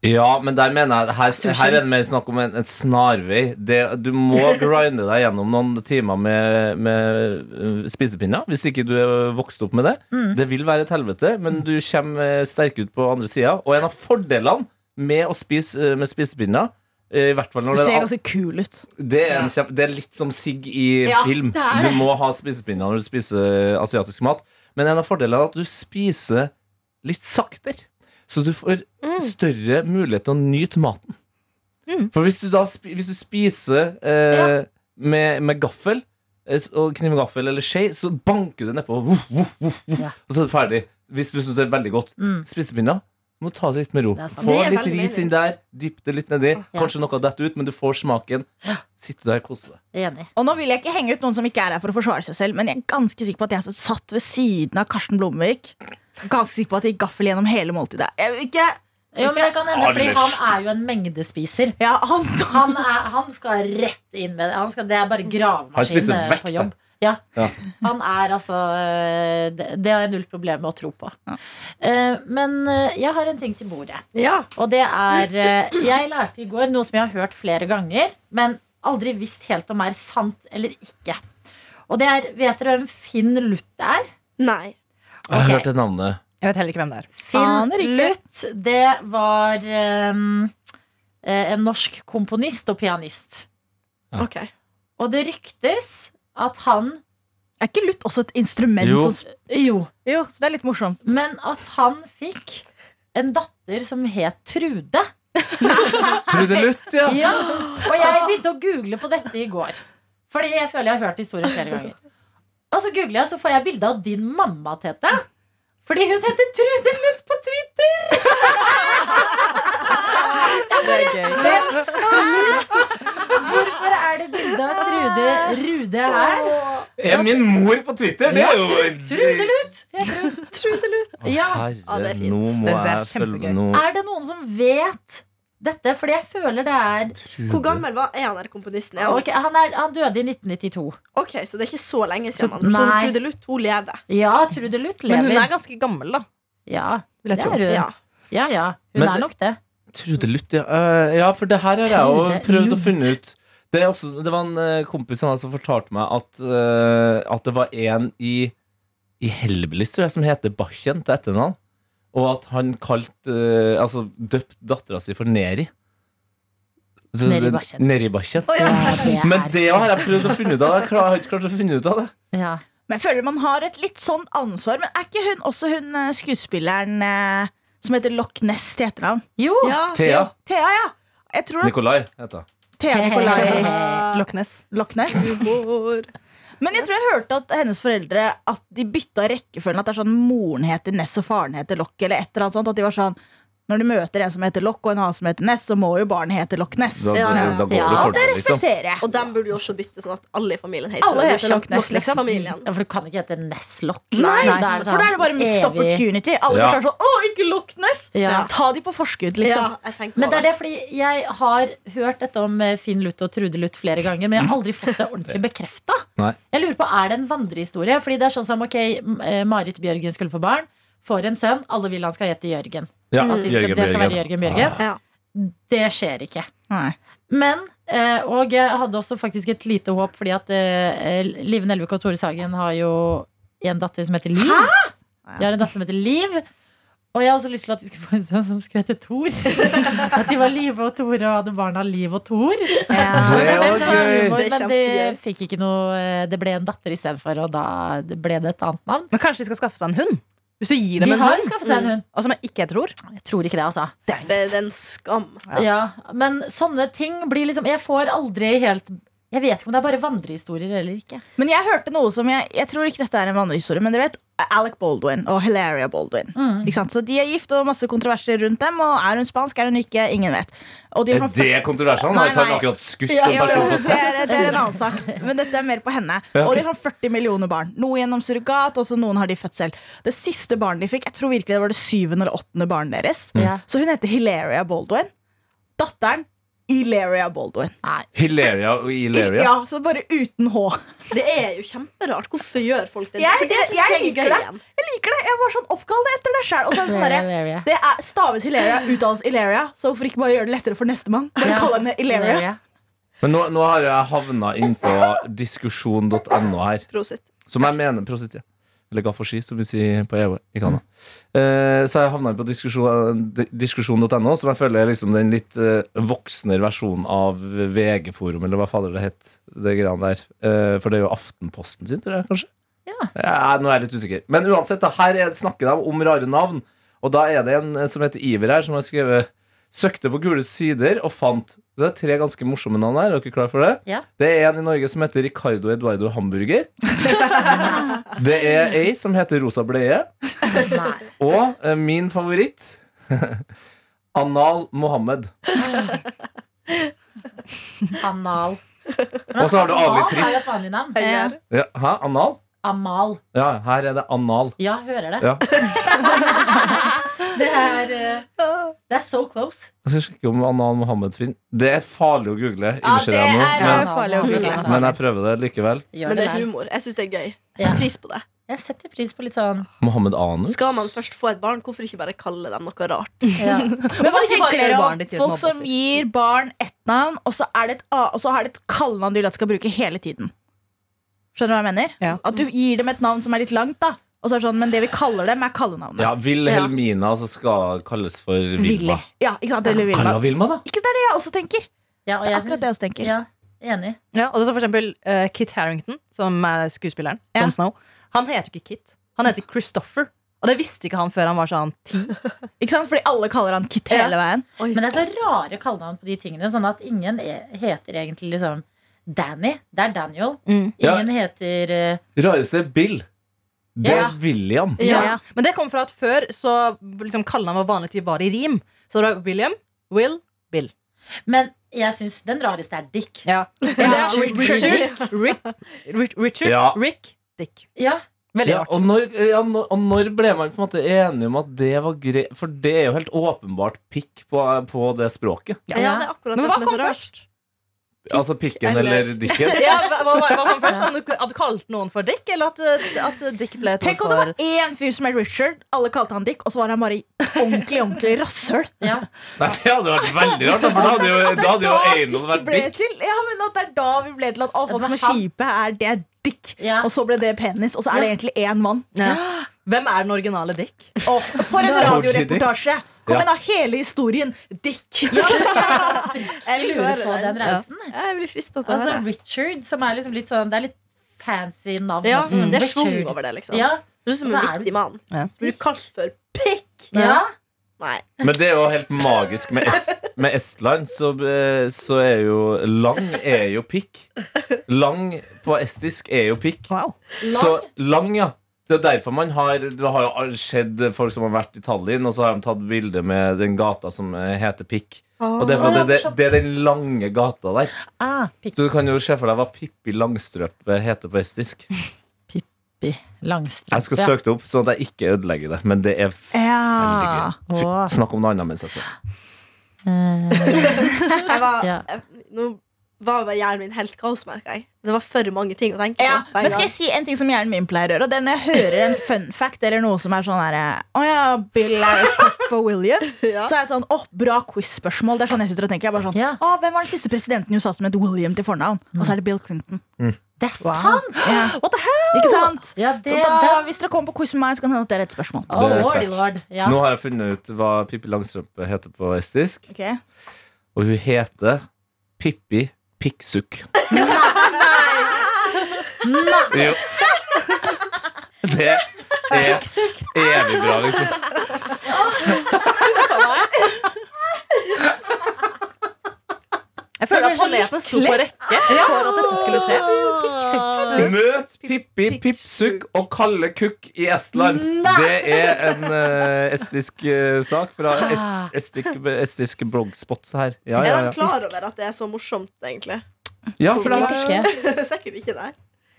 S6: Ja, men der mener jeg her, her er det mer snakk om en, en snarvei. Det, du må grinde deg gjennom noen timer med, med øh, spisepinner hvis ikke du er vokst opp med det. Det vil være et helvete, men du kommer øh, sterk ut på andre sida. Og en av fordelene med å spise øh, med spisepinner øh, i hvert fall
S5: Du
S6: når det,
S5: ser
S6: er,
S5: ganske kul ut.
S6: det, er en kjempe, det er litt som sigg i
S5: Ja,
S6: film.
S5: det er
S6: Du
S5: det.
S6: må ha spisepinner når du spiser asiatisk mat. Men en av fordelene er at du spiser litt saktere. Så du får
S5: Mm.
S6: større mulighet til å nyte maten. For hvis du da spi- hvis du spiser eh, med, med gaffel eh, s- og kniv og gaffel eller skje, så banker det nedpå, voff, voff, voff, voff,
S2: Ja.
S6: og så er det ferdig. Hvis du syns det er veldig godt.
S2: mm,
S6: Spisepinner må du ta det litt med ro.
S2: Det er sant.
S6: Få
S3: Det er
S6: litt
S3: veldig
S6: ris
S3: mening.
S6: inn der, dypp det litt nedi. Kanskje noe detter ut, men du får smaken. Sitte der og kose deg.
S2: er enig.
S5: Og nå vil jeg ikke henge ut noen som ikke er her for å forsvare seg selv, men jeg er ganske sikker på at jeg som satt ved siden av Karsten Blomvik. Ganske sikker på at jeg gikk gaffel gjennom hele måltidet. Jeg, vil ikke,
S2: Jo, men det kan hende, fordi
S6: Anders.
S2: han er jo en mengdespiser.
S5: ja, han,
S2: Han, er, han skal rett inn med det. Han skal, det er bare
S6: Han
S2: gravemaskin
S6: spiser
S2: eh,
S6: vekk,
S2: på
S6: da.
S2: jobb. Ja.
S6: Ja.
S2: Han er altså eh, Det det har jeg null problem med å tro på. Eh, Men eh, jeg har en ting til bordet.
S3: Ja.
S2: Og det er eh, Jeg lærte i går noe som jeg har hørt flere ganger, men aldri visst helt om er sant eller ikke. Og det er Vet dere hvem Finn Luth er?
S3: Nei.
S6: Jeg har
S2: Ok.
S6: hørt det navnet.
S4: Jeg vet heller ikke hvem det er.
S2: Finn
S5: Aner ikke.
S2: Luth, det var em, eh, en norsk komponist og pianist.
S3: Ok.
S2: Og det ryktes at han
S5: er ikke lutt også et instrument?
S6: Jo.
S5: som sp-
S2: Jo,
S5: jo, så det er litt morsomt.
S2: men at han fikk en datter som het Trude.
S6: Trude Luth, ja.
S2: Ja. Og jeg begynte å google på dette i går. Fordi jeg føler jeg har hørt historien flere ganger. Og så googler jeg, så får jeg bilde av din mamma, Tete. Fordi hun heter Trude Lund på Twitter!
S4: Det er gøy.
S2: Hvorfor er det bilde av Trude Rude her?
S6: Er min mor på Twitter? Det er jo
S2: Trude Lund! heter hun.
S3: Trudelutt.
S6: Å,
S2: Ja.
S6: Herre,
S3: Ja, det er fint.
S6: nå må
S4: Det ser
S6: jeg følge
S4: kjempegøy.
S6: nå-
S2: Er det noen som vet dette, fordi jeg føler det er
S3: Hvor gammel var, er han der komponisten? Er han?
S2: Ok, han, er, han døde i 1992.
S3: ok, Så det er ikke så lenge siden.
S2: Så-
S3: han. Så
S2: nei.
S3: Trude Luth, hun lever.
S2: Ja, Trude Luth
S4: Men hun er
S2: lever.
S4: ganske gammel, da.
S2: Ja,
S4: Vil jeg
S2: det
S4: tro.
S2: er hun.
S3: Ja.
S2: Ja, ja. Hun
S6: Men
S2: er
S6: det-
S2: nok det.
S6: Trude Luth, ja. Eh, ja, for det her har jeg jo
S2: Trude
S6: prøvd å
S2: Luth.
S6: finne ut. Det, er også, det var en eh, kompis som altså fortalte meg at, eh, at det var en i, i Hellbillies tror jeg, som heter Bachen til etternavn. Og at han kalte eh, Altså døpt dattera si for Neri. Så
S2: Neri
S6: det-
S2: Bachen.
S6: Neri Bachen.
S3: Å, ja.
S2: Ja, det er
S6: Men det har jeg prøvd å finne ut av. Jeg klar- har ikke klart å finne ut av det.
S2: ja.
S5: Men jeg føler man har et litt sånn ansvar. Men er ikke hun også hun eh, skuespilleren eh, som heter Loch Ness til etternavn?
S2: Jo!
S3: Ja.
S6: Thea.
S5: Thea, ja. Jeg tror at
S6: Nikolai heter hun.
S5: Thea
S2: [LAUGHS]
S5: Nicolai
S4: Loch Ness.
S5: Loch Ness.
S3: Humor.
S5: Men jeg tror jeg hørte at hennes foreldre At de bytta rekkefølgen. At det er sånn moren heter Ness og faren heter Loch. Eller et eller annet sånt. At de var sånn Når du møter en som heter Loch og en annen som heter Ness, så må jo barnet hete Loch Ness.
S6: Da,
S3: Ja,
S6: da,
S3: ja.
S6: da går det
S2: Ja,
S6: for deg, liksom.
S5: Respekterer jeg.
S3: Og dem burde jo også bytte sånn at alle i familien heter
S5: Alle
S3: det.
S5: heter Loch Ness, liksom.
S3: familien
S2: Ja, For du kan ikke hete Nesslock.
S5: Nei,
S2: Da sånn
S5: for da er det bare missed
S2: evig-
S5: opportunity. Alle
S6: Ja.
S5: blir bare sånn Å, ikke Loch Ness!
S2: Ja.
S5: Ta de på forskudd,
S3: Ja,
S5: liksom.
S3: jeg tenker på
S2: Men det er det fordi jeg har hørt dette om eh, Finn Luth og Trude Luth flere ganger, men jeg har aldri fått det ordentlig bekrefta.
S6: [LAUGHS] Nei.
S2: Jeg lurer på, er det en vandrehistorie? Fordi det er sånn som, ok, M- eh, Marit Bjørgen skulle få barn, får en sønn, alle vil han skal hete Jørgen.
S6: Ja,
S2: At de skal,
S6: Jørgen
S2: det skal være
S6: Bjørgen.
S2: Jørgen Bjørgen.
S3: Ja.
S2: Det skjer ikke.
S5: Nei.
S2: Men, eh, og jeg hadde også faktisk et lite håp, fordi at eh, Liv Nelvik og Tore Sagen har jo en datter som heter Liv. De har en datter som heter Liv. Og jeg har også lyst til at de skulle få en sønn som skulle hete Tor. At de var Live og Tore og hadde barna Liv og Tor.
S6: Det er
S2: Men
S6: jo
S2: det var humor,
S6: gøy.
S3: Det er
S2: Men de
S3: kjempegøy.
S2: fikk ikke noe eh, Det ble en datter istedenfor, og da ble det et annet navn.
S4: Men kanskje de skal skaffe seg en hund? Hvis du gir
S2: De
S4: dem en
S2: har
S4: hund,
S2: skaffet seg en hund.
S4: og som jeg ikke tror.
S2: Jeg tror ikke det, altså.
S3: Det er en skam.
S2: Ja. Men sånne ting blir liksom Jeg får aldri helt Jeg vet ikke om det er bare vandrehistorier eller ikke.
S5: Men jeg hørte noe som jeg, jeg tror ikke dette er en vandrehistorie, men dere vet Alec Baldwin og Hilaria Baldwin. Ikke sant? Så De er gift og masse kontroverser rundt dem. Og Er hun spansk, er hun ikke? Ingen vet. Og de
S6: Er
S5: fra-
S6: Eh, det kontroversielt?
S5: Nei,
S6: Har han
S5: nei.
S6: akkurat skutt
S5: Ja,
S6: en
S5: ja,
S6: person
S5: ja,
S6: på
S5: det, er, det er en annen sak, men dette er mer på henne. Og de har sånn 40 millioner barn. Noe gjennom surrogat, og så noen har de født selv. Det siste barnet de fikk, jeg tror virkelig det var det syvende eller åttende barnet deres.
S2: Ja.
S5: Så hun heter Hilaria Baldwin. Datteren Hilaria Baldwin.
S2: Nei.
S6: Hilaria og Ilaria.
S5: Ja, så bare uten H.
S3: Det er jo kjemperart. Hvorfor gjør folk det?
S5: Jeg-
S3: For det synes
S5: jeg
S3: jeg er gøy
S5: liker det.
S3: igjen.
S5: Jeg liker det. Jeg var sånn oppkall det etter deg sjæl. Og så er det sånn
S2: Very,
S5: derre
S2: very.
S5: det er staves Hilaria, uttales Hilaria, så hvorfor ikke bare gjøre det lettere for nestemann? Bare
S2: Ja.
S5: kalle henne Hilaria.
S2: Very.
S6: Men nå, nå har jeg havna innpå diskusjon.no her,
S3: Prosit.
S6: som jeg mener prosit, ja. Eller gaffaski, som vi sier på EU i Canada. Eh, så jeg havna på diskusjon- di- diskusjon.no, som jeg føler er liksom den litt eh, voksnere versjonen av VG-forum, eller hva fader det het, det greiene der. Eh, for det er jo Aftenposten sin, tror jeg, kanskje?
S2: Ja.
S6: Eh, nå er jeg litt usikker. Men uansett, da, her er, snakker de om rare navn, og da er det en eh, som heter Iver her, som har skrevet Søkte på gule sider og fant Det er tre ganske morsomme navn her. Er dere klare for det?
S2: Ja.
S6: Det er en i Norge som heter Ricardo Eduardo Hamburger. det er ei som heter Rosa Bleie.
S2: Nei.
S6: Og eh, min favoritt [LAUGHS] Anal Mohammed.
S2: Anal.
S6: Og så har du
S2: Amal
S6: Avi
S2: er
S6: Trist.
S2: jo et vanlig navn.
S3: Eller-
S6: Ja, hæ? Anal?
S2: Amal.
S6: Ja, her er det anal.
S2: Ja, hører det.
S6: Ja.
S2: [LAUGHS] det er eh, Det er so close.
S6: Jeg skal sjekke om Anal Mohammed finner Det er farlig å google, innser jeg nå.
S5: er
S6: Men,
S5: jo farlig å google.
S2: Ja,
S6: men jeg prøver det likevel.
S2: Gjør
S3: Men det
S2: det
S3: er
S2: der.
S3: humor. Jeg syns det er gøy. Jeg
S2: Ja.
S3: setter pris på det.
S2: Jeg setter pris på litt sånn
S6: Mohammed Anu.
S3: Skal man først få et barn, hvorfor ikke bare kalle dem noe rart?
S2: ja.
S5: Men hva
S4: Hvorfor ikke
S5: tenker
S4: bare
S5: dere
S4: gjøre
S5: om
S4: barnet ditt til et
S5: folk som
S4: mobbeoffer?
S5: gir barn ett navn, og så er det et, a- og så har det et kallenavn du vil at skal bruke hele tiden? Skjønner du hva jeg mener?
S4: Ja.
S5: At du gir dem et navn som er litt langt, da. Og så er det sånn, men det vi kaller dem, er kallenavnet.
S6: Ja, Vilhelmina altså skal kalles for
S5: Willy.
S6: Vilma.
S5: Ja, ikke sant? Eller Vilma.
S6: Kalla Vilma, da.
S5: Ikke det er det jeg også tenker.
S2: ja, og
S5: Det
S2: jeg
S5: er akkurat
S2: syns
S5: det jeg også tenker.
S2: ja, Enig.
S4: Ja, og så for eksempel eh, Kit Harrington, som er skuespilleren.
S5: Ja.
S4: Jon Snow. Han heter ikke Kit. Han heter Christopher. Og det visste ikke han før han var sånn ti.
S5: Ikke sant? Fordi alle kaller han Kit hele veien.
S2: Men det er så rare kallenavn på de tingene. Sånn at ingen er, heter egentlig liksom Danny. Det er Daniel.
S4: Mm.
S2: Ingen heter eh,
S6: Rareste er Bill. Det er
S2: Ja.
S6: William.
S4: Ja. Men det kom fra at før så liksom kallenavn var vanlig til var i rim. Så det var William, Will, Bill.
S2: Men jeg syns den rareste er Dick.
S4: Ja.
S5: Ja,
S4: Richard, Rick, Rich- Richard,
S6: Ja.
S4: Rick, Dick.
S2: Ja,
S4: Veldig
S6: Ja,
S4: rart.
S6: og, når, ja, når- og når ble man på en måte enig om at det var greit? For det er jo helt åpenbart pikk på, på det språket.
S3: Ja, det er akkurat
S4: Men
S3: det
S4: hva
S3: som er
S4: kom
S3: så rart.
S4: først?
S6: Altså pikken
S3: eller-
S6: eller dikken.
S4: [LAUGHS] [LAUGHS] Ja, hva, hva, hva kom først? At du, at du kalte noen for Dick, eller at, eh, at Dick ble et ord
S5: Tenk om det
S4: for
S5: var én fyr som het Richard, alle kalte han Dick, og så var han bare ordentlig ordentlig rasshøl.
S2: Ja.
S6: Nei, det hadde vært veldig rart, for da hadde jo, da hadde jo Einar vært
S5: ble
S6: dick.
S5: til, ja, men at det er da vi ble til at av folk
S2: Det var
S5: som er
S2: han.
S5: kjipe, er det Dick.
S2: Ja.
S5: Og så ble det penis, og så er det egentlig én mann.
S4: Ja. Hvem er den originale Dick?
S5: Åh, for en
S6: Ordentlig
S5: radioreportasje! Kom
S6: Ja.
S5: igjen, da. Hele historien. Dick.
S3: Jeg
S2: Vi
S3: vil
S2: lurer
S3: høre
S2: på den
S3: den.
S2: reisen.
S3: Ja, Jeg blir frista til å
S2: Altså
S3: høre.
S2: Richard, som er liksom litt sånn Det er litt fancy navn.
S3: Ja, mm,
S2: altså.
S3: det er svung
S2: Richard.
S3: over det, liksom.
S2: Ja,
S3: Du er som
S2: Og
S3: en
S2: så er
S3: viktig mann.
S4: Ja.
S3: Blir du kalt for pikk?
S2: ja.
S3: Nei.
S6: Men det er jo helt magisk. Med, Est med Estland så, eh, så er jo lang er jo pikk. Lang på estisk er jo pikk.
S4: Wow.
S6: Så lang, ja. Det er derfor man har Det har jo skjedd folk som har vært i Tallinn, og så har de tatt bilde med den gata som eh, heter Pikk. Og det er, fordi det, det, det er den lange gata der.
S2: Ah, Pippi
S6: Så du kan jo se for deg hva Pippi Langstrømpe heter på estisk.
S2: Langstrømpe.
S6: Jeg skal søke det opp, sånn at jeg ikke ødelegger det. Men det er f veldig
S5: Ja.
S6: gøy. F
S2: Åh.
S6: Snakk om noe annet mens jeg søker.
S2: Eh,
S3: Jeg var,
S2: Ja.
S3: jeg, nå var bare hjernen min helt kaos, merka jeg. Det var for mange ting å tenke
S5: [LAUGHS] Ja,
S3: på. på en
S5: men skal
S3: gang.
S5: jeg si en ting som hjernen min pleier å gjøre? Og det er når jeg hører en fun fact eller noe som er sånn herre Å ja, Bill er et cock for [LAUGHS] William.
S3: Ja.
S5: Så er jeg sånn åh, bra quiz-spørsmål. Det er sånn jeg sitter og tenker. Jeg er bare sånn,
S2: Ja.
S5: «Å, Hvem var den siste presidenten i USA som het William til fornavn? Og så er det Bill Clinton.
S2: det er sant!
S4: What the hell?
S5: Ikke sant?
S2: Ja, det,
S5: Så da, hvis dere kommer på quiz med meg, så kan det hende at det er et spørsmål.
S2: Å,
S6: Det er
S2: lordy
S6: sterkt.
S2: lord. Ja.
S6: Nå har jeg funnet ut hva Pippi Langstrømpe heter på estisk,
S5: Ok.
S6: og hun heter Pippi
S2: [LAUGHS]
S6: Pikksukk.
S2: [LAUGHS]
S6: Jo. Det er evig bra, liksom.
S4: Jeg
S2: Det
S4: føler at
S2: blir så
S4: planetene sto på rekke for at dette skulle skje.
S5: [LAUGHS]
S6: Møt Pippi Pipsukk og Kalle Kukk i Estland. Det er en eh, estisk eh, sak fra
S2: Ah.
S6: est, estisk, estisk blogspots her. Ja,
S3: Er
S6: ja,
S3: de
S6: ja.
S3: klar over at det er så morsomt, egentlig? [LAUGHS]
S6: ja for det
S2: Sikkert
S6: er-
S2: ikke.
S3: Sikkert ikke, nei.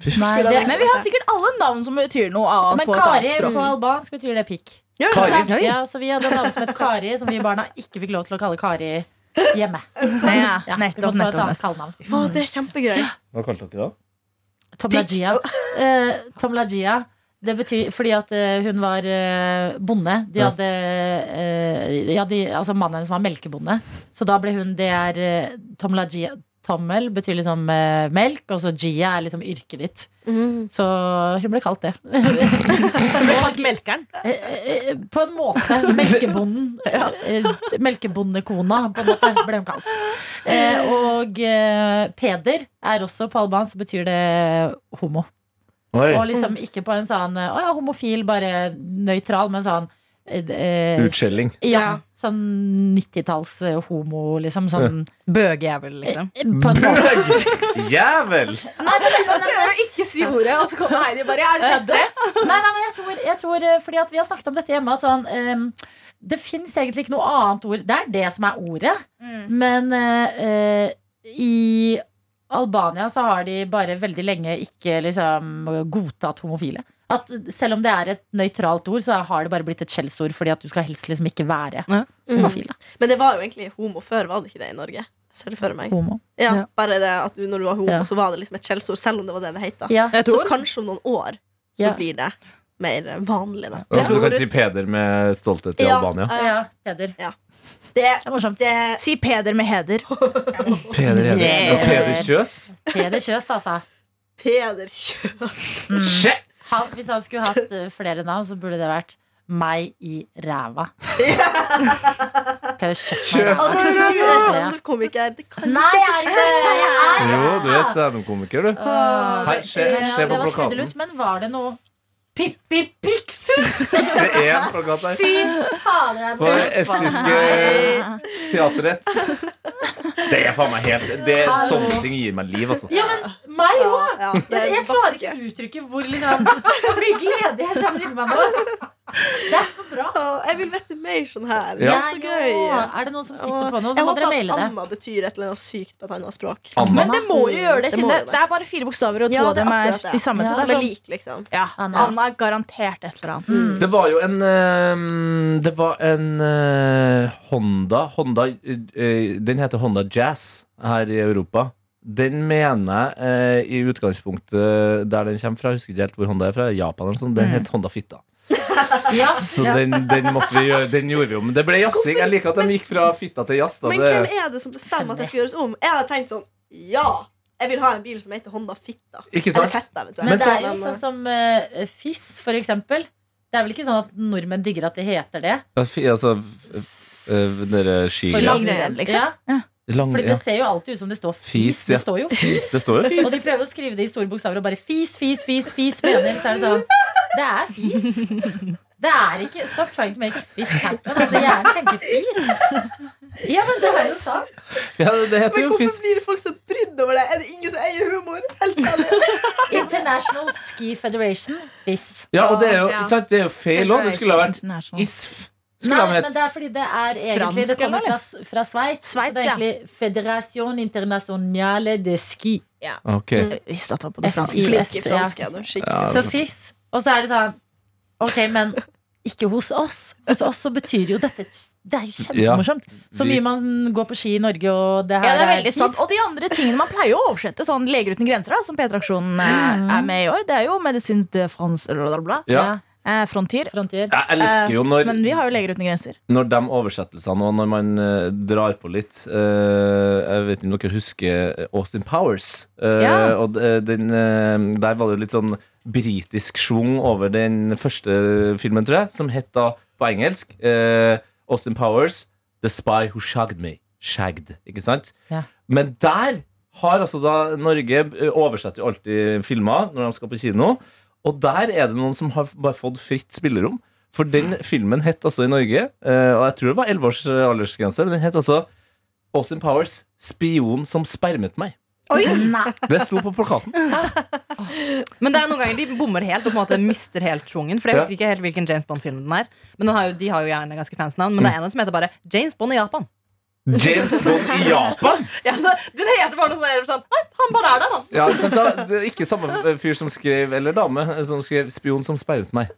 S2: Nei,
S3: Skulle
S2: det,
S3: jeg
S5: Men vi har sikkert alle navn som betyr noe annet
S2: men
S5: på et
S2: Kari
S5: annet
S2: på
S5: språk.
S2: albansk betyr det pikk.
S3: Gjør
S6: Kari.
S3: det
S6: Oi.
S2: Ja, så vi hadde en dame som het Kari, som vi barna ikke fikk lov til å kalle Kari [LAUGHS] hjemme.
S5: Ja,
S2: Ja, vi måtte ha
S5: nettopp,
S2: et
S5: nettopp.
S2: annet kallenavn.
S3: Å, det er kjempegøy.
S6: Hva kalte dere det?
S2: Tomlagia. Eh, Tomlagia. Det betyr fordi at eh, hun var eh, bonde. De
S6: Ja.
S2: hadde eh, ja, de, Altså mannen hennes var melkebonde. Så da ble hun Det er eh, Tomlagia. Tommel betyr liksom eh, melk, og så Gia er liksom yrket ditt.
S3: Mm.
S2: Så hun ble kalt det.
S4: Melkeren.
S2: Eh, eh, på en måte. Melkebonden. Eh, Melkebondekona, på en måte, ble hun kalt. Eh, og eh, Peder er også på albansk, betyr det homo. Og
S6: Oi.
S2: liksom ikke på en sånn eh, Å ja, homofil, bare nøytral, men sånn eh, eh,
S6: Utskjelling.
S2: ja,
S3: Ja.
S2: sånn 90-talls eh, homo, liksom. Sånn
S4: Bøgejævel, liksom.
S2: eh, på en måte.
S6: [LAUGHS] Jævel!
S5: Jeg prøver å ikke si ordet, og så kommer Heidi bare Er det dette?
S2: Nei, nei, men jeg tror, jeg tror eh, Fordi at vi har snakket om dette hjemme, at sånn ehm, Det fins egentlig ikke noe annet ord. Det er det som er ordet. Men eh, eh, i Albania så har de bare veldig lenge ikke liksom godtatt homofile. At selv om det er et nøytralt ord, så har det bare blitt et skjellsord fordi at du skal helst liksom ikke være
S3: Mm.
S2: homofil. da.
S3: Men det var jo egentlig homo før, var det ikke det i Norge? Jeg ser det for meg.
S2: Homo.
S3: Ja,
S2: Ja.
S3: bare det at du, når du var homo,
S2: Ja.
S3: så var det liksom et skjellsord, selv om det var det det het. da.
S2: Ja.
S4: Et
S3: Så
S4: ord?
S3: kanskje om noen år så
S2: Ja.
S3: blir det mer eh, vanlig. Da.
S6: Ja, Du kan si Peder med stolthet i
S3: Ja,
S6: Albania.
S3: eh,
S2: ja, Peder.
S3: Det,
S2: Det er morsomt.
S3: det
S5: Si Peder med
S3: [LAUGHS]
S5: heder.
S6: Peder Eder.
S2: Yeah.
S6: Og Peder Kjøs.
S2: Peder Kjøs, altså. [LAUGHS]
S3: Peder Kjøs.
S2: Mm.
S6: Shit!
S2: Han, hvis han skulle hatt eh, flere navn, så burde det vært meg i
S3: [LAUGHS]
S2: ræva. Peder Kjøs. meg i ræva.
S6: Kjøs.
S3: At ikke du er standup-komiker, det kan
S2: Nei, jeg er ikke det. Jeg er
S6: Jo, du er standup-komiker, du.
S3: Ah,
S6: Hei,
S3: det
S6: se,
S3: er-
S6: se
S2: Det
S6: på
S2: var
S6: plakaten.
S2: skuddelutt, men var det noe Pippi Piksu?
S6: Det er en plakat der.
S2: Fy fader, jeg
S6: På
S2: ble
S6: det estiske teaterrett. Det er faen meg helt det, Sånne ting gir meg liv, altså.
S2: Ja, men meg òg!
S3: Ja,
S2: Jeg,
S3: det er
S2: jeg klarer
S3: bakke.
S2: ikke å uttrykke hvor liksom, hvor mye glede jeg kjenner inni meg nå.
S3: Å, Jeg vil vite mer sånn her. Det
S6: Ja.
S3: er så
S2: Ja,
S3: gøy.
S2: Er det noen som
S3: Og
S2: sitter på noe, så
S3: jeg
S2: må dere
S3: håper at
S2: maile det.
S3: Anna betyr et eller annet sykt på et annet språk.
S6: Anna.
S5: Men det må jo gjøre det,
S3: Det må jo
S5: siden det,
S3: det.
S5: det er bare fire bokstaver, og to
S3: Ja,
S5: av
S3: det er
S5: dem er
S3: akkurat det.
S5: de samme.
S2: Ja.
S5: Så
S3: Det er
S5: det er
S3: vel
S5: sånn,
S3: lik, Mm. liksom.
S5: ja,
S2: Anna.
S5: Anna er garantert et eller annet.
S6: Det var jo en eh, Det var en eh, Honda, Honda eh, Den heter Honda Jazz her i Europa. Den mener jeg eh, i utgangspunktet der den kommer fra, jeg husker ikke helt hvor Honda er fra, Japan eller noe sånt, den het Honda Fitta. Så den, den, måtte vi gjøre, den gjorde vi om. Men det ble jazzing. Jeg liker at de gikk fra fitta til jazz. Da.
S3: Men
S6: Det,
S3: hvem er det som bestemmer at det skal gjøres om? Jeg hadde tenkt sånn Ja! Jeg vil ha en bil som heter Honda Fitta.
S6: ikke
S3: Eller
S6: sant?
S3: Fetta, eventuelt.
S2: Men
S6: Men
S2: det
S6: så-
S2: er jo sånn som eh, fiss, for eksempel. Det er vel ikke sånn at nordmenn digger at det heter det?
S6: Ja, fi- Altså, f- f- eh, den derre skigreia.
S5: Lang- Langrenn, liksom.
S2: Ja,
S6: Lang-
S2: for
S6: Mm, ja.
S2: det ser jo alltid ut som det står fis.
S6: Fis, ja.
S2: Det står jo fis.
S6: Det står jo
S2: Og de
S6: fis.
S2: prøver å skrive det i store bokstaver og bare fis, fis, fis, fis. Mener, så er det sånn Det er fis. Det er ikke Stop trying to make fis happen. Altså, hjernen tenker fis. Ja, men det er jo sånn. sant.
S6: Ja, det heter
S3: Men
S6: jo
S3: hvorfor
S6: fis.
S3: blir det folk så brydd over det? Er det ingen som eier humor? Helt ærlig.
S2: International Ski Federation fis.
S6: Ja, og det er jo,
S5: Ja.
S6: ikke sant? Det er jo feil òg. Det skulle ha vært
S3: sånn.
S6: ISF. Skulle
S2: Nei,
S6: de
S2: men
S6: hett.
S2: det er fordi det er egentlig Det
S5: Fransk,
S2: kommer
S5: eller?
S2: fra, fra Sveits. Så
S5: Sveits,
S2: det er
S5: ja.
S2: egentlig Federation Internationale de Ski.
S6: Ok.
S5: Jeg visste at det var på det franske.
S2: FI.
S3: Flink i
S2: Yes, ja.
S3: fransk, ja. nå, skikkelig.
S6: Ja,
S2: Så fis. Og så er det sånn Ok, men ikke hos oss. Hos oss så betyr jo dette Det er jo kjempemorsomt. Så
S6: vi-
S2: mye man går på ski i Norge, og det her
S5: Ja, det er
S2: fis.
S5: veldig sant. Og de andre tingene man pleier å oversette, sånn Leger uten grenser, da, som P3-aksjonen eh,
S3: Mm.
S5: er med i år, det er jo Medicine de France eller bla, bla, bla.
S6: Ja.
S5: Eh, Frontier. Eh,
S2: Frontier.
S6: Jeg elsker jo når,
S5: Men vi har jo Leger uten grenser.
S6: når de oversettelsene og når man eh, drar på litt eh, Jeg vet ikke om dere husker Austin Powers. Eh,
S5: Ja.
S6: Og d- eh, den, eh, der var det litt sånn britisk schwung over den første filmen, tror jeg, som het da på engelsk eh, Austin Powers The Spy Who Shagged Me. Shagged, ikke sant?
S2: Ja.
S6: Men der har altså da Norge eh, oversetter jo alltid filmer når de skal på kino. Og der er det noen som har bare fått fritt spillerom. For den filmen het altså i Norge, eh, og jeg tror det var 11 års eh, aldersgrense, men den het altså Austin Powers 'Spion som spermet meg'. Det sto på plakaten.
S4: Men det er noen ganger de bommer helt og på en måte mister helt schwungen. For jeg
S6: Ja.
S4: husker ikke helt hvilken James Bond-film den er. Men den har jo, de har jo gjerne ganske fans navn. Men det er
S6: Mm.
S4: en av dem som heter bare James Bond i Japan.
S6: [LAUGHS] James Bond i Japan!
S4: Ja, den heter bare noe sånn, jeg er sånn Nei, han bare er der, han.
S6: Ja, men da, det er ikke samme eh, fyr som skrev, eller dame, eh, som skrev 'Spion som spermet meg'.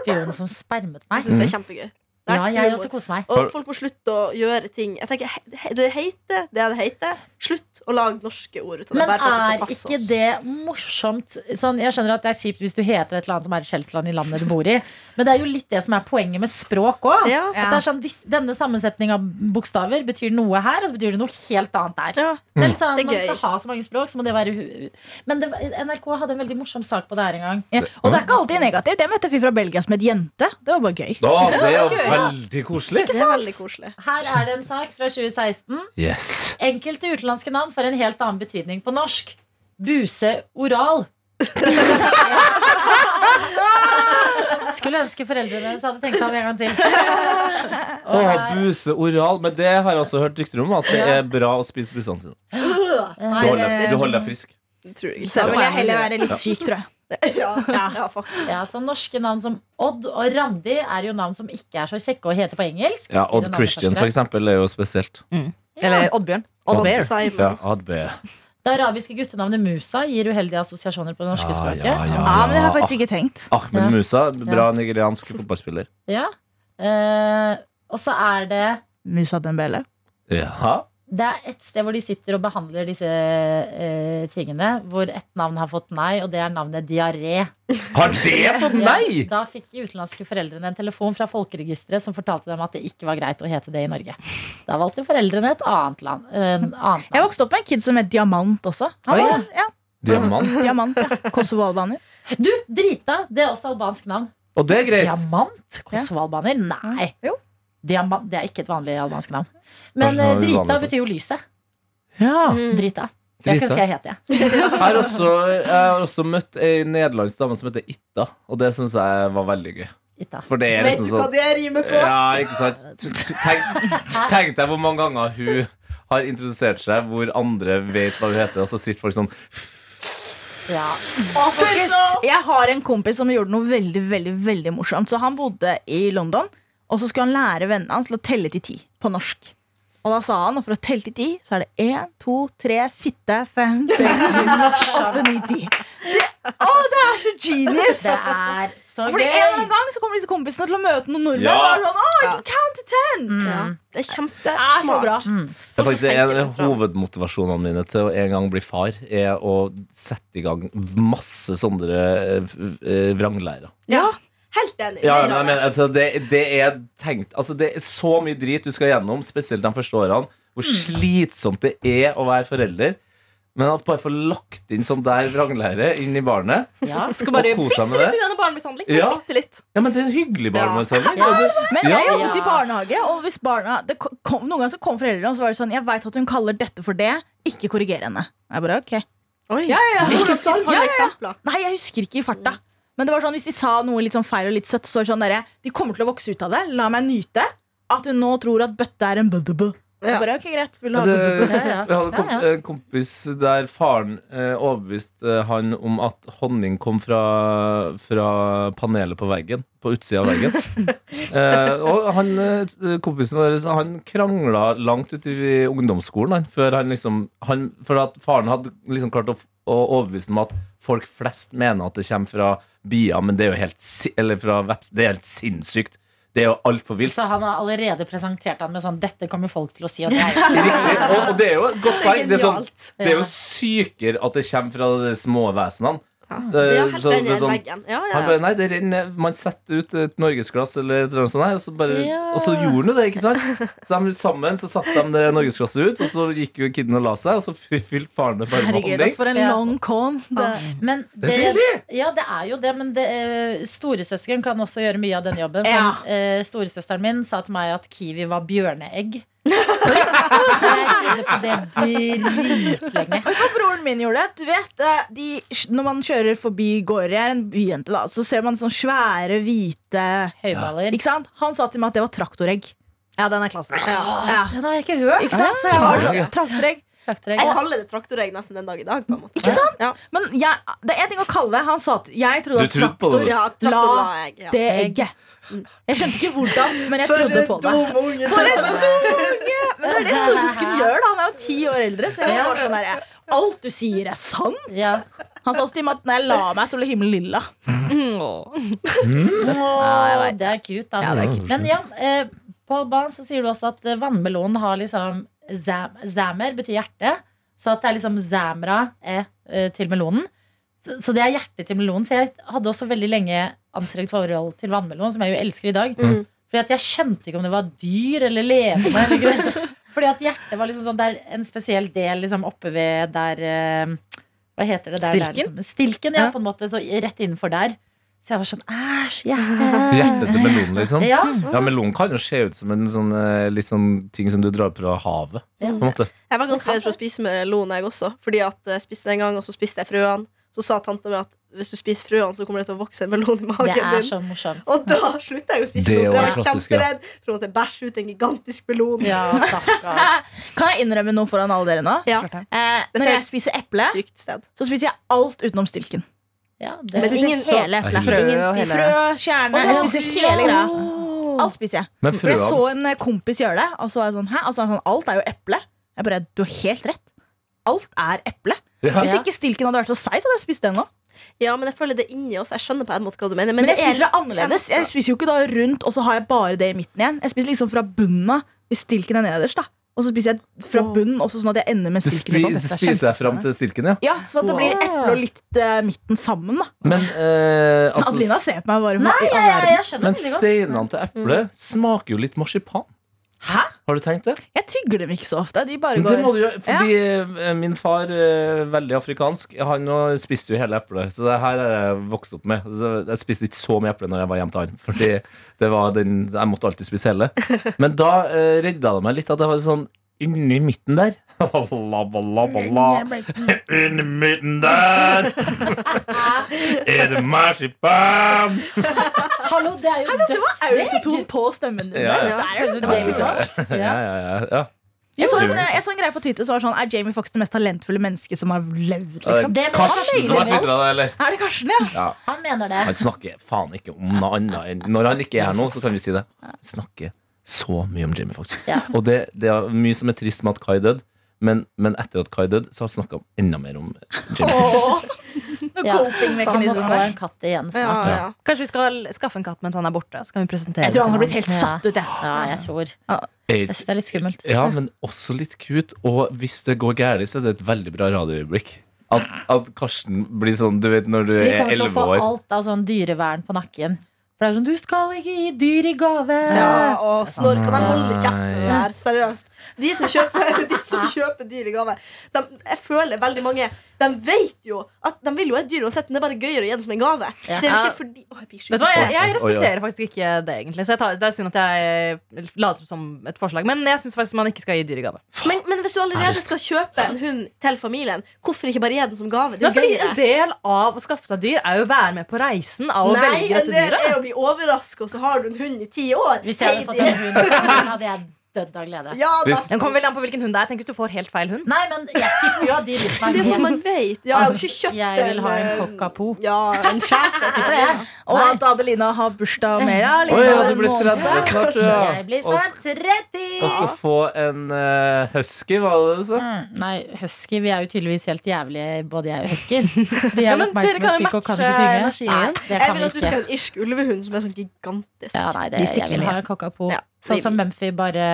S2: Spionen som spermet
S3: Jeg
S2: meg.
S3: synes det er
S6: Mm.
S3: kjempegøy. Det er
S2: Ja, jeg
S3: humor.
S2: også koser meg.
S3: Og folk må slutte å gjøre ting. Jeg tenker, he- he- Det heter det det heter. Slutt å lage norske ord ut av det.
S2: Men
S3: Bare for at
S2: er
S3: det skal
S2: ikke
S3: passe oss.
S2: det morsomt? Sånn, jeg skjønner at det er kjipt hvis du heter et eller annet som er i Skjelsland i landet du bor i, men det er jo litt det som er poenget med språk òg.
S3: Ja.
S2: Sånn, dis- denne sammensetningen av bokstaver betyr noe her, og så betyr det noe helt annet der.
S3: Ja.
S6: Mm.
S2: Det er litt sånn,
S3: Det
S2: når
S3: er
S2: man
S3: gøy.
S2: skal ha så mange språk, så må det være hu- Men det, var- NRK hadde en veldig morsom sak på det her en gang.
S5: Ja. Og det er ikke alltid negativt. Jeg møtte en fyr fra Belgia som het Jente. Det var bare gøy.
S6: Å, det er jo veldig koselig!
S3: Det er veldig koselig.
S2: Her er det en sak fra 2016.
S6: Yes.
S2: Enkelte utenlandske navn får en helt annen betydning på norsk. Buse
S3: [LAUGHS]
S2: oral. Skulle ønske foreldrene deres hadde tenkt seg om en gang til.
S6: Å, buse oral. Men det har jeg også hørt rykter om, at det er bra å spise busene sine. Du holder, deg- du holder deg frisk.
S3: Det tror jeg
S5: Da
S3: ikke.
S4: Selv-
S5: vil jeg heller være litt syk, tror jeg.
S3: [LAUGHS] Ja, ja, faktisk.
S2: Ja, så Norske navn som Odd og Randi er jo navn som ikke er så kjekke å hete på engelsk.
S6: Ja,
S2: sier en
S6: Odd
S2: annen
S6: Christian,
S2: forsker.
S6: for eksempel, er jo spesielt.
S4: Eller Oddbjørn.
S6: Odd.
S4: Odd Bear.
S3: Simon.
S6: Ja, Odd Bear.
S2: Det arabiske guttenavnet Musa gir uheldige assosiasjoner på det norske
S6: Ja,
S2: språket.
S6: ja, ja,
S5: Ja, men det har jeg
S6: ja.
S5: faktisk ikke tenkt.
S6: Ahmed
S2: Ja.
S6: Musa, bra nigeriansk fotballspiller.
S2: Ja. Eh, og så er det
S5: Musa Dembele.
S6: Jaha.
S2: Det er et sted hvor de sitter og behandler disse eh, tingene, hvor ett navn har fått nei, og det er navnet diaré.
S6: Har det fått nei?!
S2: Da fikk de utenlandske foreldrene en telefon fra Folkeregisteret som fortalte dem at det ikke var greit å hete det i Norge. Da valgte foreldrene et annet land. En annen.
S5: Jeg vokste opp med en kid som het Diamant også. Han
S4: Oi.
S5: var, ja,
S6: Diamant.
S5: Diamant, ja. [LAUGHS] Kosovo-albaner.
S2: Du, Drita! Det er også albansk navn.
S6: Og det er greit.
S2: Diamant? Kosovo-albaner? Nei.
S5: Mm. Jo.
S2: Diamant, det er ikke et vanlig albansk navn. Men
S6: Kanskje noe
S2: eh, Drita
S6: uvanlig.
S2: betyr jo lyset.
S6: Ja,
S5: Mm.
S2: Drita. Jeg
S6: Drita.
S2: skulle ønske jeg het det.
S6: Jeg har også, jeg har også møtt ei nederlandsk dame som heter Itta, og det syns jeg var veldig gøy.
S2: Itta.
S6: For det er
S3: Vet
S6: liksom
S3: du hva
S6: sånn
S3: det rimer på?
S6: Ja, ikke sant? T- t- Tenk, tenk deg hvor mange ganger hun har introdusert seg hvor andre vet hva hun heter, og så sitter folk sånn
S5: Folkens, jeg har en kompis som gjorde noe veldig veldig, veldig morsomt. Så Han bodde i London, og så skulle han lære vennene hans til å telle til ti på norsk. Og da sa han at for å telle til ti, så er det én, to, tre, fitte, fem, seks, sju, åtte, ni, ti. Det- Å, det er så genius!
S2: Det er så
S5: Fordi en eller
S2: gøy.
S5: annen gang så kommer disse kompisene til å møte noen nordmenn.
S6: Ja.
S5: Og er sånn, «Å, you count to ten
S3: Ja. Det er
S5: Det er så bra.
S3: kjempesmart.
S6: Det er faktisk en
S3: tenker
S6: av hovedmotivasjonene mine til å en gang bli far, er å sette i gang masse sånne eh, v- eh, vranglærer.
S3: Ja, helt enig.
S6: Ja,
S3: Mer
S6: men,
S3: av det.
S6: jeg mener, altså, det, det er tenkt Altså, det er så mye drit du skal gjennom, spesielt de første årene, hvor slitsomt det er å være forelder. Men at bare få lagt inn sånn der vranglære inn i barnet,
S2: Ja.
S4: Skal bare
S6: og kose seg med det
S4: bitte litt gjennom barnemishandling.
S6: Ja.
S4: Bitte litt.
S6: Ja, men det er en hyggelig
S3: Ja.
S6: barnemishandling.
S2: Ja.
S6: og det-
S5: Men
S6: Ja.
S5: jeg jobbet i
S2: Ja.
S5: barnehage, og hvis barna det ko- kom, Noen ganger så kom foreldrene og så var det sånn Jeg vet at hun kaller dette for det. Ikke korriger henne. Jeg bare, ok
S3: Oi.
S5: ja.
S3: Hvordan sånn har
S5: Ja,
S3: du
S5: ja, ja.
S3: eksempler?
S5: Nei, jeg husker ikke i farta. Men det var sånn, hvis de sa noe litt sånn feil og litt søtt, så var det sånn derre De kommer til å vokse ut av det. La meg nyte at hun nå tror at bøtte er en bøddebø.
S3: Ja.
S5: Jeg bare, ok, greit. Vil du
S6: Og
S5: ha bøddebø?
S6: [LAUGHS] det-
S2: Ja, ja.
S6: Vi hadde en kom,
S2: Ja, ja.
S6: en kompis der faren eh, overbeviste eh, han om at honning kom fra, fra panelet på veggen. På utsida
S2: [LAUGHS]
S6: av veggen. eh, og han, eh, kompisen vår han krangla langt ut i ungdomsskolen han, før han liksom han, For at faren hadde liksom klart å, f- å overbevise ham om at folk flest mener at det kommer fra bier, men det er jo helt, si- eller fra veps, det er helt sinnssykt. Det er jo altfor vilt.
S2: Så han har allerede presentert han med sånn Dette kommer folk til å si. Og det er
S6: Riktig. Og, og det er jo et godt
S3: Det er
S6: poeng. Det er sånn
S3: genialt.
S6: det er
S2: Ja.
S6: jo sykere at det kommer fra de små vesenene.
S3: Ja.
S6: Eh,
S3: Ja, helt
S6: så det er
S3: enig i
S6: sånn-
S3: veggen. Ja, ja,
S6: Han
S3: ja.
S6: bare, nei, det renner Man setter ut et norgesglass eller et eller annet sånt her, og så, bare,
S2: Ja.
S6: og så gjorde han jo det, ikke sant? Så de, sammen så satte de det norgesglasset ut, og så gikk jo kiden og la seg, og så fy- fylte faren det bare med
S5: Herregud, ass,
S6: honning.
S5: for en
S2: Ja.
S5: long con. Det,
S2: Men det, ja, det er jo det, men det, eh, storesøsken kan også gjøre mye av den jobben. Sånn, eh, storesøsteren min sa til meg at kiwi var bjørneegg.
S5: [LAUGHS]
S2: Jeg trodde på det dritlenge.
S5: hva broren min gjorde Du vet, eh, de, Når man kjører forbi gårder, jeg er en byjente, da, så ser man sånne svære, hvite
S2: Høyballer.
S5: Ikke sant? Han sa til meg at det var traktoregg.
S4: Ja, den er klasse.
S5: Ja.
S2: Den har jeg ikke hørt.
S5: Ikke sant? Så jeg var sånn, traktoregg.
S2: Traktoregg.
S3: Jeg kaller det traktoregg nesten den dag i dag. på en måte
S5: Ikke sant?
S3: Ja,
S5: Men jeg, det er en ting å kalle det. Han sa at jeg trodde
S6: Du
S5: at
S6: trodde på
S5: traktor
S6: det,
S3: ja traktor la jeg. Ja.
S5: det egget. Jeg skjønte ikke hvordan, men jeg trodde på det.
S3: unge!
S5: For en dum unge! Men det er det storesøsken gjør, da. Han er jo ti år eldre. Så jeg var sånn der, Alt du sier, er sant.
S2: Ja.
S5: Han sa også til meg at når jeg la meg, så ble himmelen lilla. [LAUGHS]
S4: Åh.
S2: Åh, det er cute, da.
S6: det er cute.
S2: Men ja, eh, på albansk så sier du også at eh, vannmelonen har liksom zam, Zamer betyr hjerte. Så at det er liksom zamra eh, eh, til melonen. Så, så det er hjertet til melonen. Så jeg hadde også veldig lenge anstrengt forhold til vannmelon, som jeg jo elsker i dag.
S3: Mhm.
S2: Fordi at jeg skjønte ikke om det var dyr eller levende. Eller grønt. Fordi at hjertet var liksom sånn Det er en spesiell del liksom oppe ved der eh, Hva heter det der?
S4: Stilken?
S2: Der, liksom. Stilken, ja,
S4: Ja.
S2: på en måte. Så rett innenfor der. Så jeg var sånn Æsj,
S6: Hjertet til melonen, liksom.
S2: ja.
S6: Ja, Melon kan jo se ut som en sånn, eh, litt sånn ting som du drar opp fra havet.
S2: Ja.
S6: På en måte.
S3: Jeg var ganske redd for å spise melon, jeg også. Fordi at jeg spiste en gang, og så spiste jeg frøene. Så sa tanta mi at hvis du spiser frøene, så kommer det til å vokse en melon i
S2: Det
S3: magen
S2: er
S3: din.
S2: så morsomt.
S3: Og da slutta jeg å spise
S6: Det
S3: melon, for jeg
S6: var
S3: var
S6: klassisk, ja.
S3: kjemperedd for å måtte bæsje ut en gigantisk melon.
S2: Ja,
S3: [LAUGHS]
S2: stakkar.
S5: Kan jeg innrømme noe foran alle dere nå?
S3: Ja.
S5: Eh, når jeg spiser eple,
S3: Trygt sted.
S5: så spiser jeg alt utenom stilken.
S2: Ja,
S5: Jeg
S2: det,
S3: Men
S5: spiser
S3: ingen- sånn-
S5: hele
S6: Nei,
S5: eplet.
S6: hyggelig.
S4: Frø
S5: Ingen
S4: og
S5: spiser
S4: hele-
S5: frø, kjerne.
S2: Å,
S5: Jeg spiser hele greia. Alt spiser jeg.
S6: Men
S5: For jeg
S6: frøene
S5: så en eh, kompis gjøre det, og så var jeg sånn, hæ? Og så var han sånn, alt er jo eple. Jeg bare, du har helt rett. Alt er eple.
S6: Ja.
S5: Hvis
S2: Ja.
S5: ikke stilken hadde vært så seig, så hadde jeg spist den nå.
S3: Ja, men jeg føler det er inni oss. Jeg skjønner på en måte hva du mener.
S5: Men,
S3: Men det
S5: jeg
S3: er
S5: spiser det annerledes. Jeg spiser jo ikke da rundt, og så har jeg bare det i midten igjen. Jeg spiser liksom fra bunnen av, hvis stilken er nederst, da. Og så spiser jeg fra bunnen, også sånn at jeg ender med
S6: Du
S5: stilken i
S6: spi-
S5: bånn.
S6: spiser deg fram til stilken, ja.
S5: Ja, sånn at det blir eple og litt eh, midten sammen, da.
S6: Men eh,
S5: Adelina
S6: altså,
S5: ser på meg bare
S2: Nei,
S5: i
S2: ja,
S5: all
S2: ja,
S5: verden.
S2: jeg skjønner
S6: men
S2: det veldig godt. Mm.
S6: steinene til eplet smaker jo litt marsipan.
S5: Hæ?
S6: Har du tenkt det?
S5: Jeg tygger dem ikke så ofte. De bare
S6: Men Det
S5: går
S6: må du gjøre, fordi eh, min far, eh, veldig afrikansk, han eh, spiste jo hele eplet. Så det her er jeg vokst opp med. Så Jeg spiste ikke så mye eple når jeg var hjemme til han. Fordi det var den, jeg måtte alltid spise hele. Men da eh, redda det meg litt at jeg var sånn inni midten der. [LAUGHS] Balla, balla, balla. Inni midten
S2: [LAUGHS]
S6: der er det marsipan!
S2: Hallo, det er jo dødsdigg!
S5: autoton på stemmen din.
S6: Ja,
S5: der.
S6: ja.
S5: Det er jo så
S6: Ja,
S5: deilig.
S6: ja, ja.
S5: Jeg så,
S6: Jo.
S5: en, jeg så en greie på Twitter som var sånn Er Jamie Fox det mest talentfulle mennesket som har levd?
S6: Er
S5: Liksom?
S6: det
S2: Det-
S6: Karsten som har twitra det, eller?
S5: Er det Karsten, ja?
S6: Ja.
S2: Han mener det.
S6: Han snakker faen ikke om noe annet enn Når han ikke er her nå, så kan vi si det. Han snakker så mye om Jamie Foxx.
S2: Ja.
S6: Og det, det er mye som er trist med at Kai døde, men, men etter at Kai døde, så har han snakka enda mer om Jamie Foxx.
S5: Noen
S2: Ja. Han må
S5: coping-mekanismer
S2: få
S5: der.
S2: en katt igjen
S3: Ja,
S2: snart.
S3: ja.
S4: [CLEARS THROAT] Kanskje vi skal skaffe en katt mens han er borte? Så kan vi presentere
S5: Jeg tror han
S4: den
S5: har
S4: til
S5: blitt helt
S2: Ja.
S5: satt ut. jeg.
S2: Ja, jeg tror.
S6: Eh,
S2: Jeg synes det er litt skummelt.
S6: Ja, men også litt cute. Og hvis det går gærent, så er det et veldig bra radioøyeblikk. At, at Karsten blir sånn, du vet, når du
S2: Vi
S6: er
S2: kommer til å
S6: elleve
S2: få
S6: år.
S2: alt av sånn dyrevern på nakken. For det er sånn, du skal ikke gi dyr i gave.
S3: Ja, og snork. Kan de holde kjeften
S6: Nei.
S3: der? Seriøst. De som kjøper, [LAUGHS] de som kjøper dyr i gave, de, jeg føler veldig mange De vet jo at de vil jo ha et dyr uansett, men det er bare gøyere å gi det som en gave.
S2: Ja.
S3: Det er jo ikke fordi Å, jeg blir
S4: Vet du hva,
S3: sjuk.
S4: jeg, jeg
S6: Oi,
S4: respekterer faktisk ikke det, egentlig. Så jeg tar, det er synd at jeg eh, later som et forslag. Men jeg syns faktisk man ikke skal gi dyr i gave.
S3: Men, men hvis du allerede skal kjøpe en hund til familien, hvorfor ikke bare gi den som gave? Det er
S4: Nei,
S3: jo
S4: fordi en
S3: gøyere.
S4: del av å skaffe seg dyr er jo å være med på reisen av å
S3: Nei,
S4: velge
S3: en
S4: dette
S3: del er
S4: dyret.
S3: å bli overraska, og så har du en hund i ti år.
S2: Hvis jeg hadde fått
S3: Heidi.
S2: en hund, hadde jeg dødd av glede.
S3: Ja, da.
S6: Hvis-
S4: Den kommer veldig an på hvilken hund det er. Tenk hvis du får helt feil hund.
S2: Nei, men jeg tipper jo at de rundt
S3: Det
S2: meg
S3: er sånn
S2: vet.
S3: man vet. Ja, jeg har jo ikke kjøpt
S2: Jeg vil ha en
S3: eh,
S2: cockapoo.
S3: Ja, en sjef. jeg tipper det.
S5: Og at Adelina har bursdag mer. Ja, litt
S6: Oi, ja,
S5: over
S6: du
S5: en
S6: blir
S5: måned.
S6: 30 snart, ja.
S2: Jeg blir snart
S6: Og,
S2: 30!
S6: og skal få en eh, husky, var det det du sa?
S2: Mm, Nei, husky, vi er jo tydeligvis helt jævlige, både jeg og huskyer. Vi
S4: Ja,
S2: er
S4: men dere kan jo
S2: oppmerksomhetssyke og kan
S4: matche
S2: ikke synge.
S4: energien.
S2: Nei, det
S3: Jeg
S2: kan
S3: vil
S2: vi
S3: at du
S2: ikke.
S3: skal ha en irsk ulvehund som er sånn gigantisk.
S2: Ja, nei, det,
S4: De
S2: jeg
S4: sikler
S2: vil
S4: mye.
S2: ha en kakapo.
S3: Ja,
S2: Sånn
S3: vi
S2: som
S3: vil.
S2: Mumphy, bare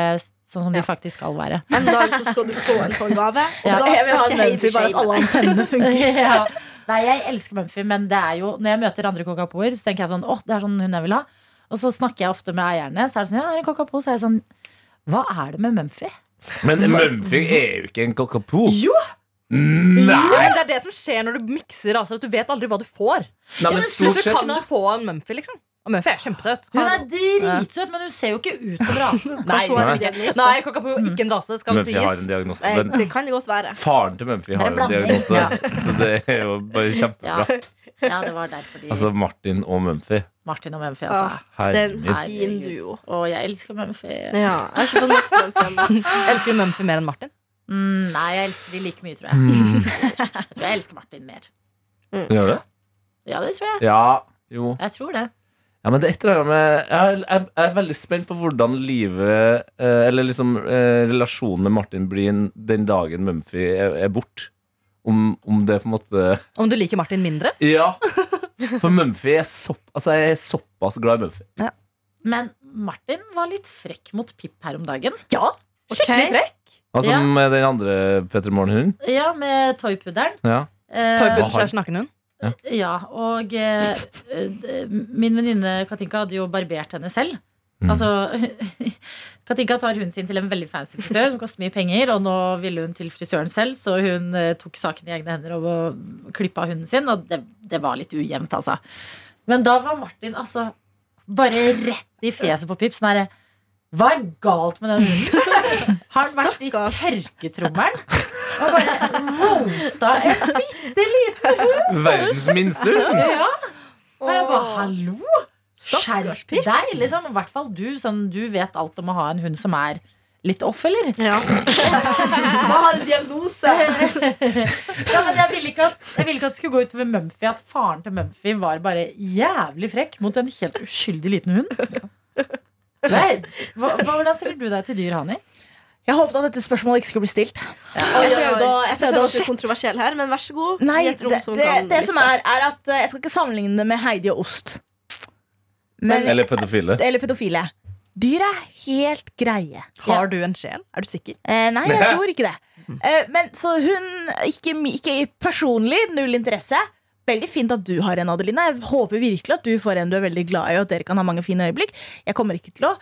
S2: sånn som de faktisk skal være.
S3: En dag så skal du få en sånn gave, og
S2: Ja,
S3: da
S5: Jeg vil ha
S3: skal
S5: en
S3: ikke Heidi
S5: Mumphy, bare at
S3: shame.
S5: alle antennene funker.
S2: [LAUGHS] ja. Nei, jeg elsker Mumphy, men det er jo når jeg møter andre kakapoer, så tenker jeg sånn åh, det er sånn hund jeg vil ha. Og så snakker jeg ofte med eierne, så er det sånn ja, det er en kakapo. Så er jeg sånn hva er det med Mumphy?
S6: Men Mumphy er jo ikke en kakapo.
S4: Jo. Ja,
S6: Nei!
S4: men det er det som skjer når du mikser raser, at du vet aldri hva du får.
S6: Nei, men stort
S4: Plutselig
S6: sett
S4: kan du få en Mumphy, liksom. Og Mumphy er kjempesøt.
S2: Hun er dritsøt, men hun ser jo ikke ut som rasen.
S4: Nei,
S3: Kanskje hun har en
S6: nei.
S3: diagnose.
S4: Nei, Kakapo er ikke en rase, skal det
S6: Mumphy har
S4: sies.
S6: en diagnose.
S3: Eh,
S6: Men
S3: Det kan det godt være.
S6: faren til Mumphy
S2: Det er
S6: har jo en
S2: blanding.
S6: diagnose,
S2: Ja.
S6: så det er jo bare
S2: Ja.
S6: kjempebra.
S2: [LAUGHS] ja, det var derfor de
S6: Altså Martin og Mumphy.
S2: Martin og Mumphy,
S3: Ja.
S2: altså.
S3: Det er
S6: Herregud.
S3: en fin
S2: Herregud.
S3: duo.
S2: Å, jeg elsker Mumphy.
S3: Ja, jeg har ikke fått nok av den
S5: [LAUGHS]
S3: filmen.
S4: Elsker du Mumphy mer enn Martin?
S2: Mm, nei, jeg elsker de like mye, tror jeg.
S6: Mm.
S2: Jeg tror jeg elsker Martin mer.
S6: Gjør det?
S2: Ja, det tror jeg.
S6: Ja. Jo.
S2: Jeg tror det.
S6: Ja, men det er et eller annet med jeg, er- jeg, jeg er veldig spent på hvordan livet eh, Eller liksom eh, relasjonen med Martin blir den dagen Mumphy er, er borte. Om, om det på en måte
S4: Om du liker Martin mindre?
S6: Ja! For Mumphy er sopp, altså jeg er såpass glad i Mumphy.
S2: Men Martin var litt frekk mot Pip her om dagen.
S4: Ja, skikkelig
S3: Ok.
S4: frekk.
S6: Altså
S2: Ja.
S6: med den andre Petter Morgenhunden.
S2: Ja, med toypudderen.
S6: Ja.
S2: Eh,
S4: Torgpudel
S6: Hva har-
S4: slash nakenhund.
S2: ja, og eh, eh, min venninne Katinka hadde jo barbert henne selv.
S6: Mm.
S2: Altså, [LAUGHS] Katinka tar hunden sin til en veldig fancy frisør som koster mye penger, og nå ville hun til frisøren selv, så hun eh, tok saken i egne hender og eh, klippa hunden sin, og det, det var litt ujevnt, altså. Men da var Martin altså bare rett i fjeset på Pip, sånn herre Hva er galt med den hunden? Har han vært i tørketrommelen og bare roasta en bitte liten
S6: Verdens minste hund!
S2: ja. Og jeg bare hallo! Skjerp deg! Liksom. I hvert fall du. Sånn, du vet alt om å ha en hund som er litt off, eller?
S5: [LAUGHS]
S3: Ja. Som har en diagnose.
S2: Ja, men jeg ville ikke at, jeg ville ikke at det skulle gå utover Mumphy at faren til Mumphy var bare jævlig frekk mot en helt uskyldig liten hund. Nei, hva, hva- Hvordan stiller du deg til dyr, Hani?
S5: Jeg håpet at dette spørsmålet ikke skulle bli stilt.
S3: Oi, oi,
S5: prøvde å-
S3: oi.
S5: jeg
S3: Jeg føler at du
S5: prøvde å-
S3: er kontroversiell her, men vær så god.
S5: Nei,
S3: Gi
S5: det,
S3: et rom som
S5: det,
S3: kan
S5: det
S3: lytte.
S5: som er, er at eh, jeg skal ikke sammenligne det med Heidi og ost. Men, eller,
S6: Eller pedofile.
S5: pedofile. Dyr er helt greie.
S4: Har du en sjel? Er du sikker?
S5: Eh, nei, jeg tror ikke det. Eh, men Så hun ikke, mi- ikke personlig, null interesse. Veldig fint at du har en, Adelina. Jeg håper virkelig at du får en du er veldig glad i, og at dere kan ha mange fine øyeblikk. Jeg kommer ikke til å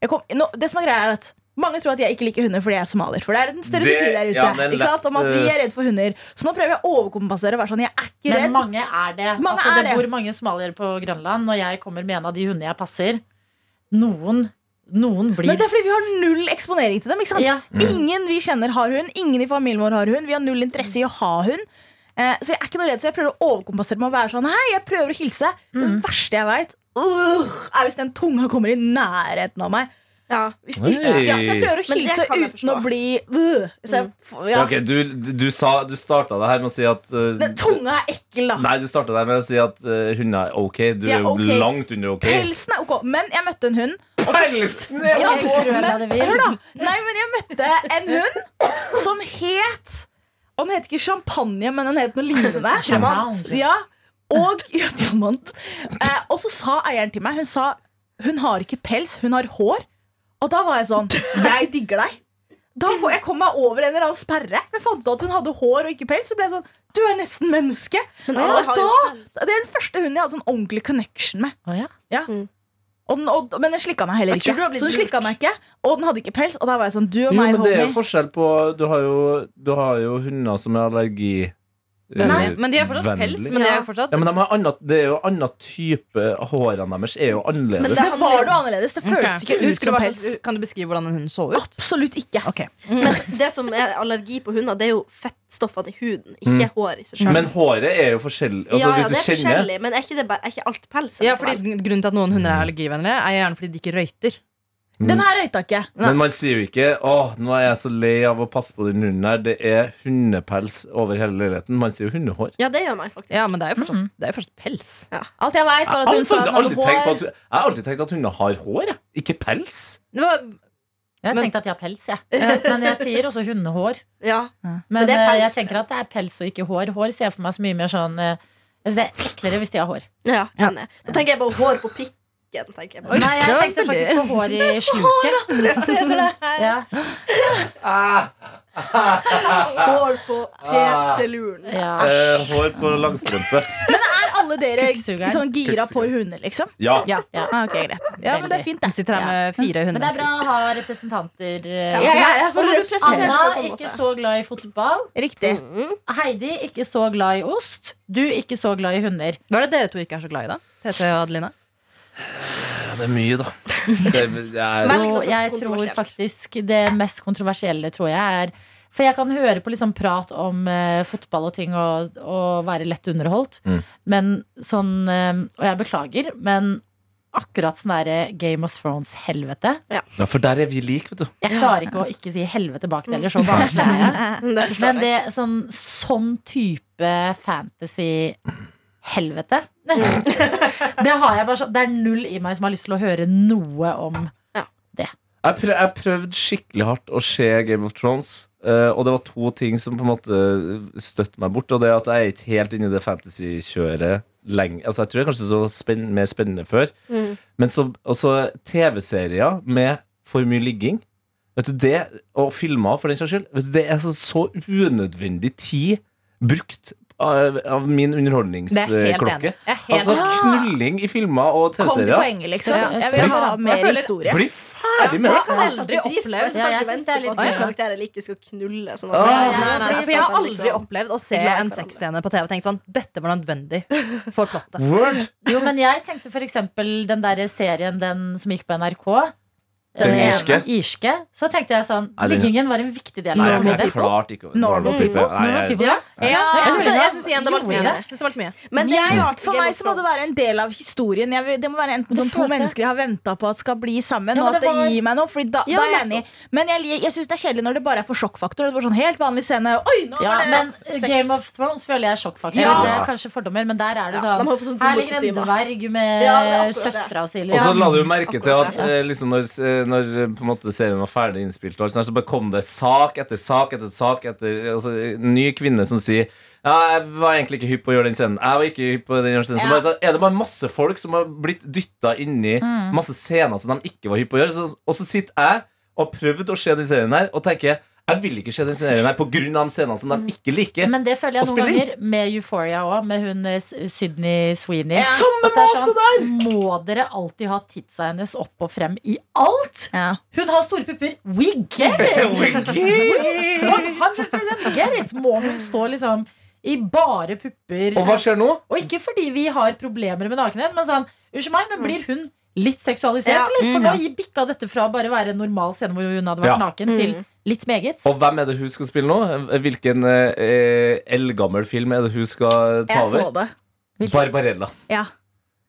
S5: jeg kom, nå, Det som er greia, er at mange tror at jeg ikke liker hunder fordi jeg er somalier. For det er en stereotypi
S6: Det-
S5: der ute.
S6: ja, det er
S5: ikke sant? Om at
S6: lett,
S5: vi
S6: eh,
S5: er redd for hunder. Så nå prøver jeg å overkompensere og være sånn. Jeg er ikke
S2: Men
S5: redd.
S2: mange er det.
S5: Mange
S2: altså,
S5: er
S2: det,
S5: det.
S2: bor mange somaliere på Grønland. Når jeg kommer med en av de hundene jeg passer, noen, noen
S5: Men
S2: blir
S5: det er fordi vi har null eksponering til dem. ikke sant?
S2: Ja.
S5: Ingen vi kjenner har hund. Ingen i familien vår har hund. Vi har null interesse i å ha hund. Eh, så jeg er ikke noe redd, så jeg prøver å overkompensere med å være sånn Hei, jeg prøver å hilse. Det verste jeg veit, er hvis den tunga kommer i nærheten av meg.
S3: Ja, hvis de,
S6: Oi.
S5: Ja, så jeg prøver å
S3: Men det
S5: hilse
S3: kan jeg
S5: uten å
S3: forstå.
S5: bli øh, så jeg, f- ja.
S6: Ja, ok, du, du, sa, du starta det her med å si at eh,
S5: Den tunga er ekkel, da.
S6: Nei, du starta det her med å si at eh, hunder er ok. Du
S5: De er
S6: er jo
S5: ok.
S6: langt under ok.
S5: Pelsen er ok, men jeg møtte en hund.
S6: Pelsen! ja.
S5: Ja,
S2: Jeg
S5: det-
S2: tror jeg
S5: men-
S2: hadde vil.
S5: Hør da! Nei, men jeg møtte en hund som het Og den het ikke champagne, men den het noe
S3: [LAUGHS]
S5: lignende.
S2: Diamant.
S5: Ja, og [LAUGHS] ja, diamant. Eh, og så sa eieren til meg Hun sa hun har ikke pels, hun har hår. Og da var jeg sånn Jeg digger deg. Da kom jeg kom meg over en eller annen sperre. For jeg fant ut at hun hadde hår og ikke pels. Så ble jeg sånn Du er nesten menneske.
S3: alle
S5: og
S3: har
S5: da,
S3: jo pels.
S5: det er den første hunden jeg hadde sånn ordentlig connection med.
S2: Å, ja.
S5: Ja.
S3: Mm.
S5: Og den, og, men den slikka meg heller
S3: Jeg tror
S5: ikke.
S3: du har blitt
S5: Så den slikka
S3: lurt.
S5: meg ikke Og den hadde ikke pels. Og da var jeg sånn Du og
S6: Jo,
S5: meg,
S6: men det er jo
S5: homie.
S6: forskjell på Du har jo, du har jo hunder som er allergi... eh,
S4: Nei, men de har fortsatt
S6: vennlig.
S4: pels. Men de er
S3: Ja.
S4: jo fortsatt
S6: Ja, men de har annet, Det er jo annen type Hårene deres er jo
S5: Men
S6: annerledes.
S5: det var noe annerledes. Det
S4: Ok.
S5: føltes ikke ut
S4: Husker du
S5: som
S4: hva
S5: pels.
S4: slags- Kan du beskrive hvordan en hund så ut?
S5: Absolutt ikke.
S4: Ok.
S3: Men det som er allergi på hunder, det er jo fettstoffene i huden, ikke hår i seg sjøl.
S6: Mm. Men håret er jo forskjellig. Altså,
S3: ja, ja, det
S6: hvis
S3: er
S6: du kjenner
S3: forskjellig, men er ikke, det bare, er ikke alt pels?
S4: Ja,
S3: likevel?
S4: fordi Grunnen til at noen hunder er
S6: Mm.
S4: allergivennlige, er gjerne fordi de ikke røyter. Mm.
S5: Den her røyta ikke.
S6: Men man sier jo ikke Åh, nå er jeg så lei av å passe på den hunden her. Det er hundepels over hele leiligheten. Man sier jo hundehår.
S3: ja, det gjør meg faktisk.
S4: Ja, men det er jo fortsatt, det er jo fortsatt pels.
S5: Alt jeg vet var
S6: Jeg har
S5: at hun sa
S6: aldri,
S5: hun hadde
S6: aldri tenkt på
S5: hår.
S6: at, jeg har alltid tenkt at hunder har hår, jeg. ikke pels.
S4: Det var,
S2: Jeg
S4: Men-
S2: tenkte at jeg har pels, jeg. Eh, Men jeg sier også hundehår.
S3: Ja.
S2: Men,
S3: Men det er
S2: eh,
S3: pels.
S2: jeg tenker at det er pels og ikke hår. Hår ser jeg for meg så mye mer sånn eh, jeg synes Det er eklere hvis de har hår.
S3: Ja, enig. Da tenker jeg på hår på pikken. Tenker jeg på.
S2: Nei, jeg tenkte faktisk på
S4: [LAUGHS]
S2: hår i [LAUGHS] sluket. Ja,
S3: Hår på PC-luren.
S2: ja.
S6: Eh, hår på langstrømpe.
S5: Er alle
S4: [LAUGHS]
S5: dere
S2: Kukksugeren.
S5: sånn gira på hunder, liksom?
S6: Ja.
S2: Ja, ja.
S5: Ah, ok, greit. Ja, men det er fint,
S4: hun
S5: det.
S4: sitter her med fire
S2: Men det er bra
S4: hundemennesker.
S2: å ha representanter. eh,
S5: Ja, ja, ja,
S3: Og når du presenterer
S2: Anna
S3: det på en sånn
S2: ikke
S3: måte
S2: så glad i fotball.
S5: Riktig.
S3: Mm.
S2: Heidi ikke så glad i ost. Du ikke så glad i hunder.
S4: Hva er det dere to ikke er så glad i, da? Tete og Adelina?
S6: Det er mye, da. Det er, det er,
S3: Men-
S2: Og
S3: Veldig
S2: jeg tror
S3: kontroversielt.
S2: faktisk det mest kontroversielle tror jeg er For jeg kan høre på liksom prat om eh, fotball og ting og, og være lett underholdt.
S6: Mm.
S2: Men sånn eh, Og jeg beklager, men akkurat sånn derre Game of Thrones-helvete
S6: ja, for der er vi like, vet du.
S2: Jeg klarer ikke å ikke si helvete bak det, eller så barnslig er jeg.
S3: [LAUGHS]
S4: [LAUGHS]
S3: Det forstår
S2: Men
S3: jeg.
S2: det sånn, sånn type fantasy-helvete
S3: Mm.
S2: [LAUGHS] Det har jeg bare sånn Det er null i meg som har lyst til å høre noe om
S6: Jeg, prøv, jeg prøvde skikkelig hardt å se Game of Thrones. eh, og det var to ting som på en måte støtte meg bort. Og det er at jeg er ikke helt inne i det fantasy-kjøret lenge. Altså, jeg tror jeg kanskje så spenn, mer spennende før.
S3: Mm.
S6: Men så også TV-serier med for mye ligging. Vet du det, Og filmer, for den saks skyld. Vet du, det er så, så unødvendig tid brukt av, av min
S4: Det er helt
S6: underholdningsklokke.
S4: enig. Jeg er helt
S6: Eh, Altså knulling i filmer og
S5: Kom til
S6: TV-serier.
S5: poenget, liksom.
S2: Så-
S5: Jeg vil ha mer
S4: føler-
S5: historie.
S6: Bli ferdig med det!
S3: Det kan jeg sette
S4: aldri
S3: pris på. Jeg
S4: opplevd-
S2: Ja,
S3: sitter
S2: jeg synes det
S3: og
S2: er
S3: venter på
S2: litt-
S3: at to
S4: Å, ja.
S3: karakterer like skal knulle. Sånn at
S6: Åh. Nei,
S4: Nei, nei, nei, for jeg har aldri
S3: Liksom.
S4: opplevd å se
S3: Glad i
S4: en
S3: hverandre.
S4: sexscene på TV og tenkt sånn Dette var nødvendig for plottet.
S6: Word!
S2: Jo, men jeg tenkte for eksempel den der serien Den som gikk på NRK
S6: Den
S2: ene,
S6: irske?
S2: irske Så tenkte jeg sånn
S6: Nei, den-
S2: Liggingen var en viktig del
S6: Nei,
S2: av
S6: jeg
S2: det
S6: er klart ikke
S5: Normal
S6: Normal people. Nei,
S2: Normal
S6: jeg-
S2: people.
S3: Ja.
S4: Ja, Mm. jeg synes- jeg syns igjen det var
S2: Gjorde
S4: litt mye.
S2: jeg
S4: Jeg synes det var litt mye.
S3: Men det er rart
S5: For meg så må det være en del av historien. Jeg vil, det må være enten
S2: Det
S5: sånn To
S2: følte jeg.
S5: mennesker jeg har venta på at skal bli sammen,
S2: Ja,
S5: og
S2: men
S5: at
S2: det
S5: det
S2: var-
S5: gir meg noe. Fordi da,
S3: Ja,
S5: da er jeg enig.
S3: nettopp.
S5: Men jeg, li- jeg syns det er kjedelig når det bare er for sjokkfaktor. Det var sånn helt vanlig scene. Oi, nå
S2: ja,
S5: var det
S2: men
S5: sex.
S2: Game of Thrones føler jeg er sjokkfaktor.
S5: Ja.
S2: Det er kanskje fordommer, men der er det
S3: Ja,
S2: sånn
S3: de har på sånn
S2: Her
S3: dumme
S2: ligger en
S3: kostymer.
S2: dverg med
S3: Ja, det er akkurat det.
S2: søstera si.
S6: Og så
S2: Liksom.
S6: la du jo merke til
S3: Akkurat
S6: at eh, liksom når, eh, når eh, på en måte serien var ferdig innspilt, og alt sånt, her, så bare kom det sak etter sak etter sak etter altså, eh, ny kvinne som sier ja, jeg var egentlig ikke hypp på å gjøre den scenen. Jeg var ikke hypp på den scenen så
S2: Ja.
S6: bare, så Er det bare masse folk som har blitt dytta inni
S2: Mm.
S6: masse scener som de ikke var hypp på å gjøre? Så, og så sitter jeg og har prøvd å se den serien her og tenker jeg vil ikke se den serien her pga. de scenene som de ikke liker.
S2: Mm.
S6: [LAUGHS]
S2: Men det føler jeg
S6: Og
S2: noen
S6: spilling.
S2: ganger med Euphoria òg, med hun eh, S- Sydney Sweeney.
S6: Samme
S2: At det er sånn,
S6: maset
S2: Må dere alltid ha titsa hennes opp og frem i alt?
S5: Ja.
S2: Hun har store pupper. We get it!
S6: We get it.
S2: 100% get it! Må hun stå liksom i bare pupper?
S6: Og hva skjer nå?
S2: Og ikke fordi vi har problemer med nakenhet, men sånn, unnskyld meg, men blir hun litt seksualisert,
S3: Ja.
S2: eller? For
S4: Mm,
S2: nå
S4: ja.
S2: gikk bikka dette fra bare være en normal scene hvor hun hadde vært
S6: Ja.
S2: naken, til litt meget.
S6: Og hvem er det hun skal spille nå? Hvilken eh, eldgammel film er det hun skal ta
S5: Jeg så
S6: over?
S5: det.
S2: Hvilken?
S6: Barbarella.
S5: Ja.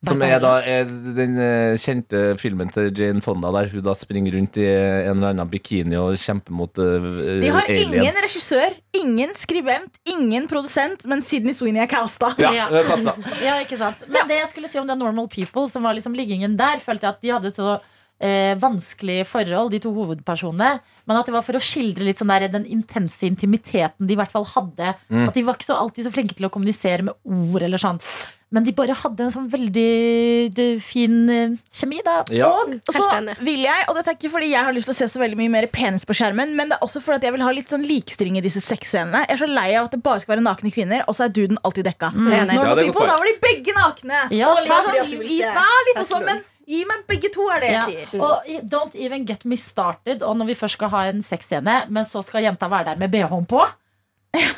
S6: Som er da er den eh, kjente filmen til Jane Fonda, der hun da springer rundt i eh, en eller annen bikini og kjemper mot eh,
S5: De har ingen
S6: aliens.
S5: regissør, ingen skribent, ingen produsent, men Sydney Sweeney er casta.
S6: Ja,
S2: Ja.
S6: det passer.
S2: Ja, ikke sant Men det jeg skulle si om The Normal People, som var liksom liggingen der, følte jeg at de hadde et så eh, vanskelig forhold, de to hovedpersonene. Men at det var for å skildre litt sånn der, den intense intimiteten de i hvert fall hadde.
S6: Mm.
S2: At de var ikke så alltid så flinke til å kommunisere med ord eller sånt. Men de bare hadde en sånn veldig eh, fin eh, kjemi, da.
S6: Ja.
S5: Og så
S3: enig.
S5: vil jeg, og dette er ikke fordi jeg har lyst til å se så veldig mye mer penis på skjermen, men det er også fordi at jeg vil ha litt sånn likestring i disse sexscenene. Jeg er så lei av at det bare skal være nakne kvinner, og så er duden alltid dekka.
S4: Enig.
S5: Når
S6: Ja, det er
S5: det var
S6: godt
S5: people,
S6: poeng.
S5: da var de begge nakne.
S2: Ja,
S5: og litt
S2: sant.
S5: sånn is- is- nei, litt sånn, men gi meg begge to, er det
S2: Ja.
S5: jeg sier.
S2: Og i- don't even get me started. Og når vi først skal ha en sexscene, men så skal jenta være der med bh-en på.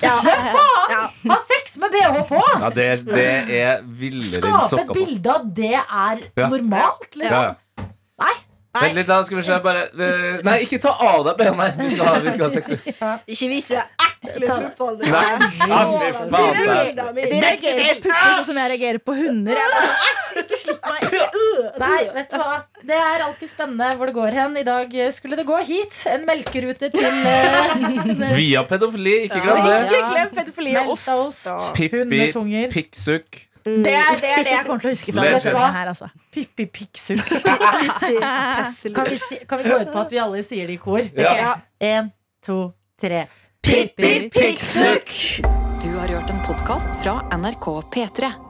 S3: Ja.
S2: Ha sex med bh på!
S6: Ja, det, er- det er villere enn
S2: Skape et
S6: sokker på.
S2: bilde av det er
S6: Ja.
S2: normalt, liksom.
S6: Ja, ja.
S2: Nei.
S6: Vent litt, da skal vi se. Bare eh, Nei, ikke ta av deg bena! Vi skal ha- vi skal ha sex.
S3: Ikke vis deg ekle
S2: Ta-
S3: puppene
S6: Nei, ja, fy faen, det er-
S5: De
S3: dine.
S5: reagerer på pupper sånn som jeg reagerer på hunder. Jeg bare, æsj, ikke slipp meg. Øh.
S2: Nei, vet du hva? Det er alltid spennende hvor det går hen. I dag eh, skulle det gå hit. En melkerute til
S6: [LAUGHS]
S2: eh,
S6: Via pedofili, ikke glem det.
S5: Ikke glem pedofili og ost.
S2: smelta ost.
S6: Pippi,
S2: Hundetunger.
S6: pikksukk.
S5: Det er, det er det jeg kommer til å huske fra
S6: Legend.
S5: denne sendingen her, altså.
S2: Pippi pikksukk. Kan,
S3: Pesselur.
S2: vi si- kan vi gå ut på at vi alle sier det i kor?
S6: Ja.
S2: Ok. En, to, tre. Pippi
S5: pikksukk.
S1: Du har hørt en podkast fra NRK P3.